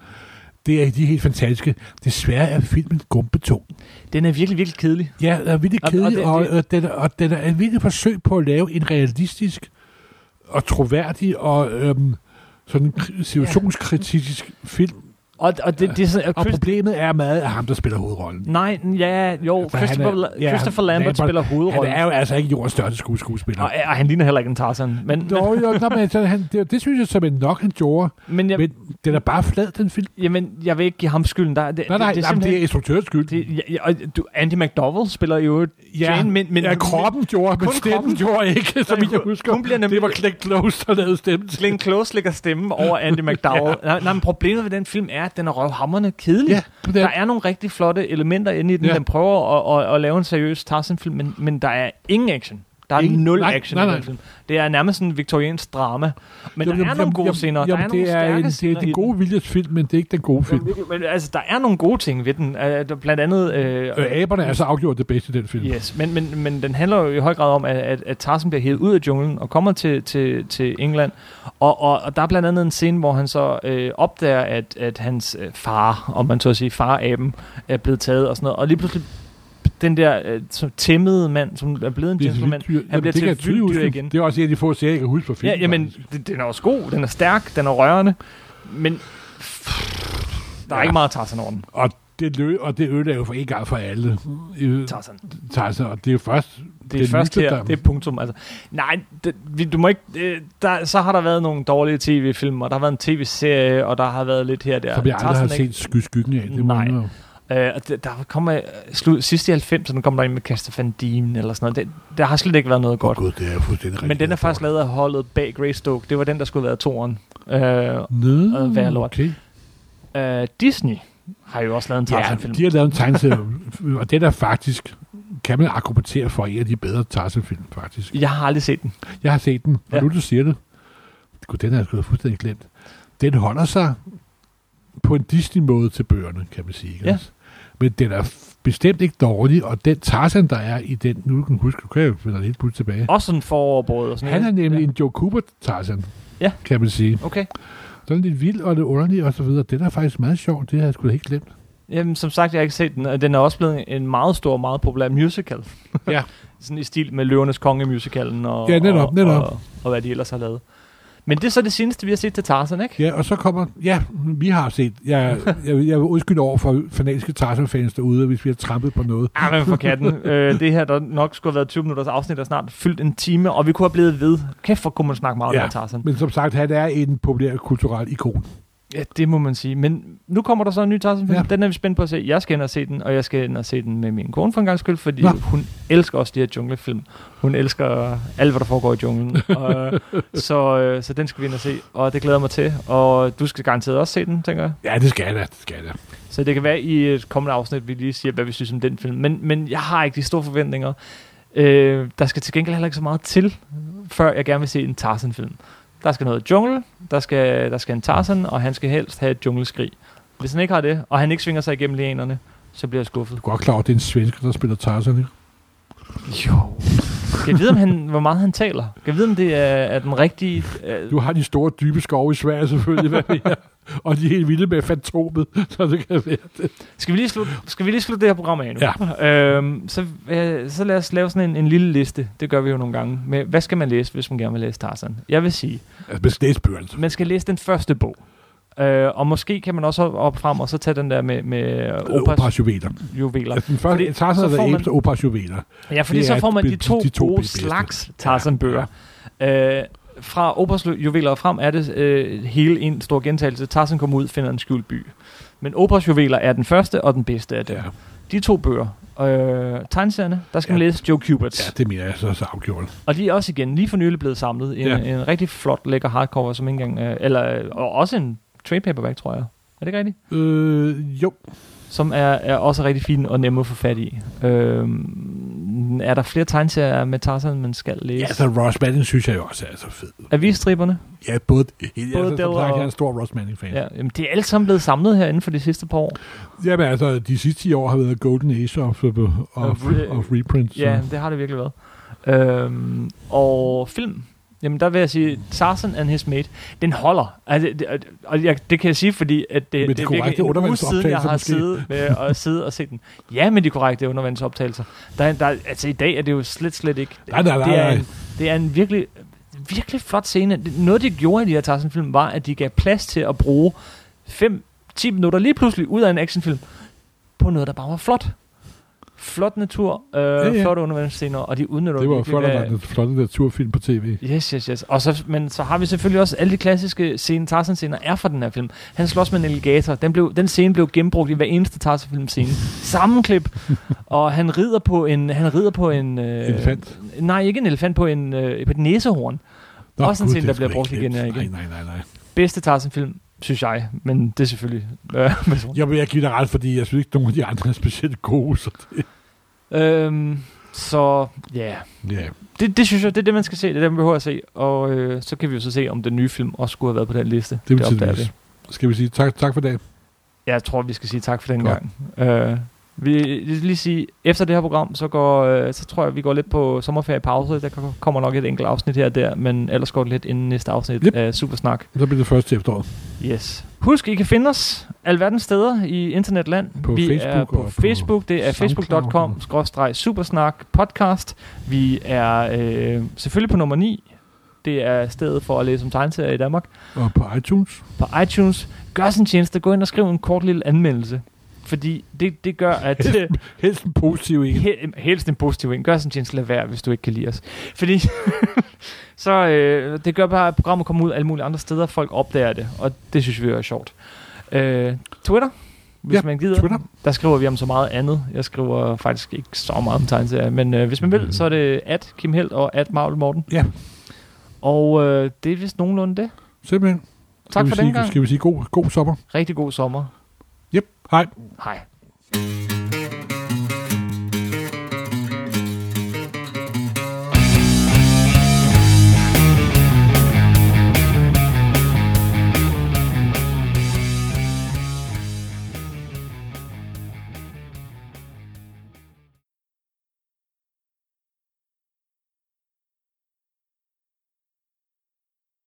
B: Det er de er helt fantastiske. Desværre er filmen gumpetung.
A: Den er virkelig, virkelig kedelig.
B: Ja, den er virkelig
A: Og- og det-
B: kedelig, og, og,
A: det-
B: og, den, er- og den er et virkelig forsøg på at lave en realistisk og troværdig og øhm, sådan kri- situationskritisk film.
A: Og, og det, det er sådan,
B: Og
A: at Chris,
B: problemet er meget, at ham, der spiller hovedrollen.
A: Nej, ja, jo,
B: For han er-
A: Christopher, er,
B: ja,
A: Christopher Lambert,
B: Lambert,
A: spiller
B: Han
A: hovedrollen.
B: er jo altså ikke jordens største skues- skuespiller.
A: og, og han ligner heller ikke en Tarzan. Men,
B: Nå, jo, nå, men så han, det, det synes jeg som en nok, han gjorde.
A: men, men, jeg,
B: Jamen. Men den er bare flad, den film.
A: jamen, jeg vil ikke give ham skylden. Der, det,
B: Nej, nej,
A: det,
B: det,
A: det,
B: det, jamen, det er
A: simpelthen-
B: instruktørens skyld. Det,
A: det, ja, ja, og du, Andy McDowell spiller jo et
B: Ja,
A: Jane, men, men
B: ja, kroppen gjorde, men
A: kun kroppen.
B: stemmen gjorde ikke, som
A: Nej,
B: jeg
A: hun-
B: husker.
A: hun bliver nemlig-
B: Det var Click Close, der lavede stemmen til.
A: Glenn Close lægger stemme over Andy McDowell. ja. nej, nej, men problemet ved den film er, at den er røvhammerne kedelig.
B: Ja, det er-
A: der er nogle rigtig flotte elementer inde i den. Ja.
B: Ja.
A: Den prøver at, at, at lave en seriøs Tarzan-film, men, men der er ingen action. Der er ingen,
B: Ingen-
A: nul
B: nej,
A: action
B: nej,
A: i den
B: nej.
A: film. Det er nærmest sådan en viktoriansk drama. Men
B: Jamen,
A: der er
B: jamen,
A: nogle gode
B: jamen,
A: scener. der er
B: jamen,
A: nogle
B: det er
A: stærke
B: en, det
A: scener
B: er
A: i
B: den gode viljes film, men det er ikke den gode film.
A: den. Men, altså, der er nogle gode ting ved den. Øh, der- Blandt andet... Øh,
B: Øh, aberne er så afgjort det bedste i den film.
A: Yes, men, men, men den handler jo i høj grad om, at, at, at Tarzan bliver hævet ud af junglen og kommer til, til, til England. Og, og, og der er blandt andet en scene, hvor han så øh, opdager, at, at hans øh, far, om man så at sige far-aben, er blevet taget og sådan noget. Og lige pludselig den der øh, som tæmmede mand, som er blevet en
B: Det er et
A: gentleman,
B: vildt dyr.
A: han
B: Jamen,
A: bliver
B: det kan
A: til
B: jeg
A: et
B: tydeligt
A: vildt dyr
B: huske.
A: igen.
B: Det er også en af de få serier, jeg kan huske fra filmen.
A: Ja, jamen,
B: faktisk.
A: den, den er også god, den er stærk, den er rørende, men der er
B: Ja.
A: ikke meget Tarzan over den.
B: Og det, lø, og det ødelægger jo for en gang for alle. Øh,
A: Tarzan.
B: Tarzan, og det er først...
A: det er det først
B: lytter,
A: her,
B: der-
A: det er punktum. Altså, nej, det, vi- du må ikke, det, der, så har der været nogle dårlige tv-film, og der har været en tv-serie, og der har været lidt her og der.
B: som jeg aldrig har
A: Tarzan, ikke?
B: set sky skyggen af. Det
A: Nej.
B: Nej. Må jeg-
A: Øh, og det, der kommer, slut, sidst i 90'erne kom der en med Castor Van Dien, eller sådan noget. Det, der har slet ikke været noget godt.
B: Gud, det er fuldstændig rigtigt.
A: Men den er faktisk lavet af holdet bag Greystoke. Det var den, der skulle være toren. Øh,
B: Nå,
A: og være lort.
B: Okay.
A: øh, Disney har jo også lavet en
B: Ja,
A: Tarzan-film.
B: de har lavet en tegneserie, og den er faktisk, kan man argumentere for, en af de bedre Tarzan-film, faktisk.
A: Jeg har aldrig set den.
B: Jeg har set den, og
A: Ja.
B: ja. nu du siger det, Gud, den har jeg sgu da fuldstændig glemt. Den holder sig på en Disney-måde til bøgerne, kan man sige. Ikke?
A: Ja.
B: også? Men den er f- bestemt ikke dårlig, og den Tarzan, der er i den, nu kan du huske, okay, jeg finder det helt pludselig tilbage.
A: Også sådan foroverbrød og sådan
B: Han er
A: noget.
B: nemlig en Joe Cooper Tarzan,
A: Ja.
B: kan man sige.
A: Ja. Okay.
B: Sådan lidt vild og lidt underlig og så videre. Den er faktisk meget sjov, det har jeg sgu da helt glemt.
A: Jamen, som sagt, jeg har ikke set den, og den er også blevet en meget stor, meget populær musical.
B: Ja.
A: Sådan i stil med Løvernes Konge musicalen og,
B: Ja, netop,
A: og,
B: netop.
A: Og, og, hvad de ellers har lavet. Men det er så det seneste, vi har set til Tarzan, ikke?
B: Ja, og så kommer... Ja, vi har set... Jeg, jeg, jeg vil undskylde over for fanatiske Tarzan-fans derude, hvis vi har trampet på noget.
A: Ah, men for katten. øh, det her, der nok skulle have været 20 minutters afsnit, der snart fyldt en time, og vi kunne have blevet ved. Kæft, hvor kunne man snakke meget om
B: Ja.
A: ja. Tarzan.
B: Men som sagt, han er en populær kulturel ikon.
A: Ja, det må man sige. Men nu kommer der så en ny Tarzan-film. Ja.
B: Ja.
A: Den er vi spændt på at se. Jeg skal ind og se den, og jeg skal ind og se den med min kone for en gang skyld, fordi Nå.
B: Nå.
A: hun elsker også de her junglefilm. Hun elsker alt, hvad der foregår i junglen. og, så, øh, så den skal vi ind og se, og det glæder jeg mig til. Og du skal garanteret også se den, tænker jeg.
B: Ja, det skal jeg det skal jeg
A: Så det kan være i et kommende afsnit, vi lige siger, hvad vi synes om den film. Men, men jeg har ikke de store forventninger. Øh, der skal til gengæld heller ikke så meget til, før jeg gerne vil se en Tarzan-film. Der skal noget jungle, der skal, der skal en Tarzan, og han skal helst have et jungleskrig. Hvis han ikke har det, og han ikke svinger sig igennem lianerne, så bliver jeg skuffet.
B: Du er godt klar over, at det er en svensker, der spiller Tarzan, ikke?
A: Jo. Kan jeg vide, om han, hvor meget han taler? Kan jeg vide, om det er, er den rigtige... Øh,
B: Du har de store, dybe skove i Sverige selvfølgelig. Hvad? og de er helt vilde med fantomet, så det kan være det.
A: Skal vi lige slutte, skal vi lige slutte det her program af nu? Ja. Øhm, så, øh, så lad os lave sådan en, en lille liste. Det gør vi jo nogle gange. Med, hvad skal man læse, hvis man gerne vil læse Tarzan? Jeg vil sige,
B: Altså, med slæsbøgerne.
A: man skal læse den første bog. Øh, og måske kan man også op frem og så tage den der med, med Opas
B: Øh, Opas juveler.
A: juveler.
B: Altså, den første,
A: Fordi
B: Tarzan
A: så
B: og
A: får
B: The
A: man-
B: Apes og Opas juveler.
A: Ja, fordi
B: Det
A: så
B: er
A: får man
B: be-
A: de to,
B: de to
A: gode
B: bedste.
A: slags Tarzan-bøger. Øh, fra Opers juveler og frem er det øh, hele en stor gentagelse. Tarzan kommer ud, finder en skjult by. Men Opers juveler er den første og den bedste af dem.
B: Ja.
A: De to bøger. Øh, tegneserierne, der skal man
B: Ja.
A: læse Joe Cuberts.
B: ja, det mener jeg så, så afgjort.
A: Og de er også igen lige for nylig blevet samlet. En,
B: Ja.
A: en rigtig flot, lækker hardcover, som ikke engang... Øh, eller, øh, og også en trade paperback, tror jeg. Er det ikke rigtigt?
B: Øh, jo,
A: Som er, er også rigtig fin og nemme at få fat i. Øh, er der flere tegneserier med Tarzan, man skal læse?
B: ja, altså Ross Manning synes jeg jo også er så fed.
A: Avisstriberne.
B: Ja, både, både altså,
A: Del
B: som sagt,
A: og-
B: jeg er en stor Ross Manning-fan.
A: Ja, jamen, de er alle sammen blevet samlet herinde for de sidste par år.
B: Jamen altså, de sidste 10 år har været Golden Age of, of, of,
A: re-
B: of reprints.
A: Ja,
B: så-
A: det har det virkelig været. Øhm, og film. Jamen, der vil jeg sige, Tarzan and His Mate, den holder. Altså, det, det, og jeg, det kan jeg sige, fordi at det,
B: Med de
A: det er
B: korrekte
A: virkelig en uge siden, jeg
B: undervandsoptagelser
A: har
B: måske.
A: siddet, med, og siddet og set den. Ja, med de korrekte undervandsoptagelser. Der, der, altså, i dag er det jo slet, slet ikke.
B: Nej, nej, nej,
A: det, er
B: nej.
A: en, det er en virkelig, virkelig flot scene. Det- Noget, de gjorde i de her Tarzan-film, var, at de gav plads til at bruge 5-10 minutter lige pludselig ud af en actionfilm på noget, der bare var flot. Flot natur, øh, ja, ja.
B: ja.
A: flotte undervandsscener, og de udnytter
B: Det var jo før,
A: virkelig,
B: der var
A: øh,
B: den flotte naturfilm på tv.
A: Yes, yes, yes. Og så, men så har vi selvfølgelig også alle de klassiske scene, Tarzan-scener er fra den her film. Han slås med en alligator. Den, blev, den scene blev genbrugt i hver eneste Tarzan-film-scene. Sammenklip. og han rider på en... Han rider på en øh,
B: Elefant.
A: Nej, ikke en elefant. På, en, øh, på et næsehorn. også en
B: gud,
A: scene,
B: det
A: der
B: er
A: bliver
B: sgu
A: brugt
B: ikke
A: igen
B: nemt.
A: og igen.
B: Nej, nej, nej, nej.
A: Bedste Tarzan-film, synes jeg. Men det er selvfølgelig... Øh, personligt.
B: Jeg vil jeg give dig ret, fordi jeg synes ikke, nogen af de andre er specielt gode. Så det,
A: øhm, så ja... Yeah.
B: ja.
A: Det, det synes jeg, det er det, man skal se. Det er det, man behøver at se. Og øh, så kan vi jo så se, om den nye film også skulle have været på den liste.
B: Det vil
A: opdager vi.
B: tidligvis. Skal vi sige tak, tak for dagen?
A: Jeg tror, vi skal sige tak for den
B: Godt.
A: gang. Øh, vi vi skal lige sige, efter det her program, så, går, øh, så tror jeg, vi går lidt på sommerferiepause. Der ko- kommer nok et enkelt afsnit her og der, men ellers går det lidt inden næste afsnit
B: Yep.
A: af Supersnak.
B: Så bliver det først til efteråret.
A: Yes. Husk, I kan finde os alverdens steder i internetland.
B: På
A: vi er
B: Facebook
A: på
B: og på
A: Facebook. Det er
B: SoundCloud.
A: facebook.com-supersnak-podcast. Vi er øh, selvfølgelig på nummer 9. Det er stedet for at læse om tegneserier i Danmark
B: Og på iTunes.
A: på iTunes. Gør os en tjeneste, gå ind og skriv en kort lille anmeldelse. Fordi det, det gør, at...
B: Helst en positiv en.
A: Hel, helst en positiv en. Gør os en tjeneste, lad være, hvis du ikke kan lide os. Fordi så øh, det gør bare, at programmet kommer ud alle mulige andre steder, folk opdager det, og det synes vi jo er sjovt. Øh, Twitter, hvis
B: Ja,
A: man gider.
B: Twitter.
A: Der skriver vi om så meget andet. Jeg skriver faktisk ikke så meget om tegneserier, men øh, hvis man vil, så er det at Kim Held og at Marvel Morten.
B: Mm. Ja,
A: Og øh, det er vist nogenlunde det.
B: simpelthen. Skal
A: Tak
B: vi
A: for
B: sige,
A: den gang.
B: Skal vi sige god, god sommer?
A: Rigtig god sommer.
B: Yep, hej.
A: Hej.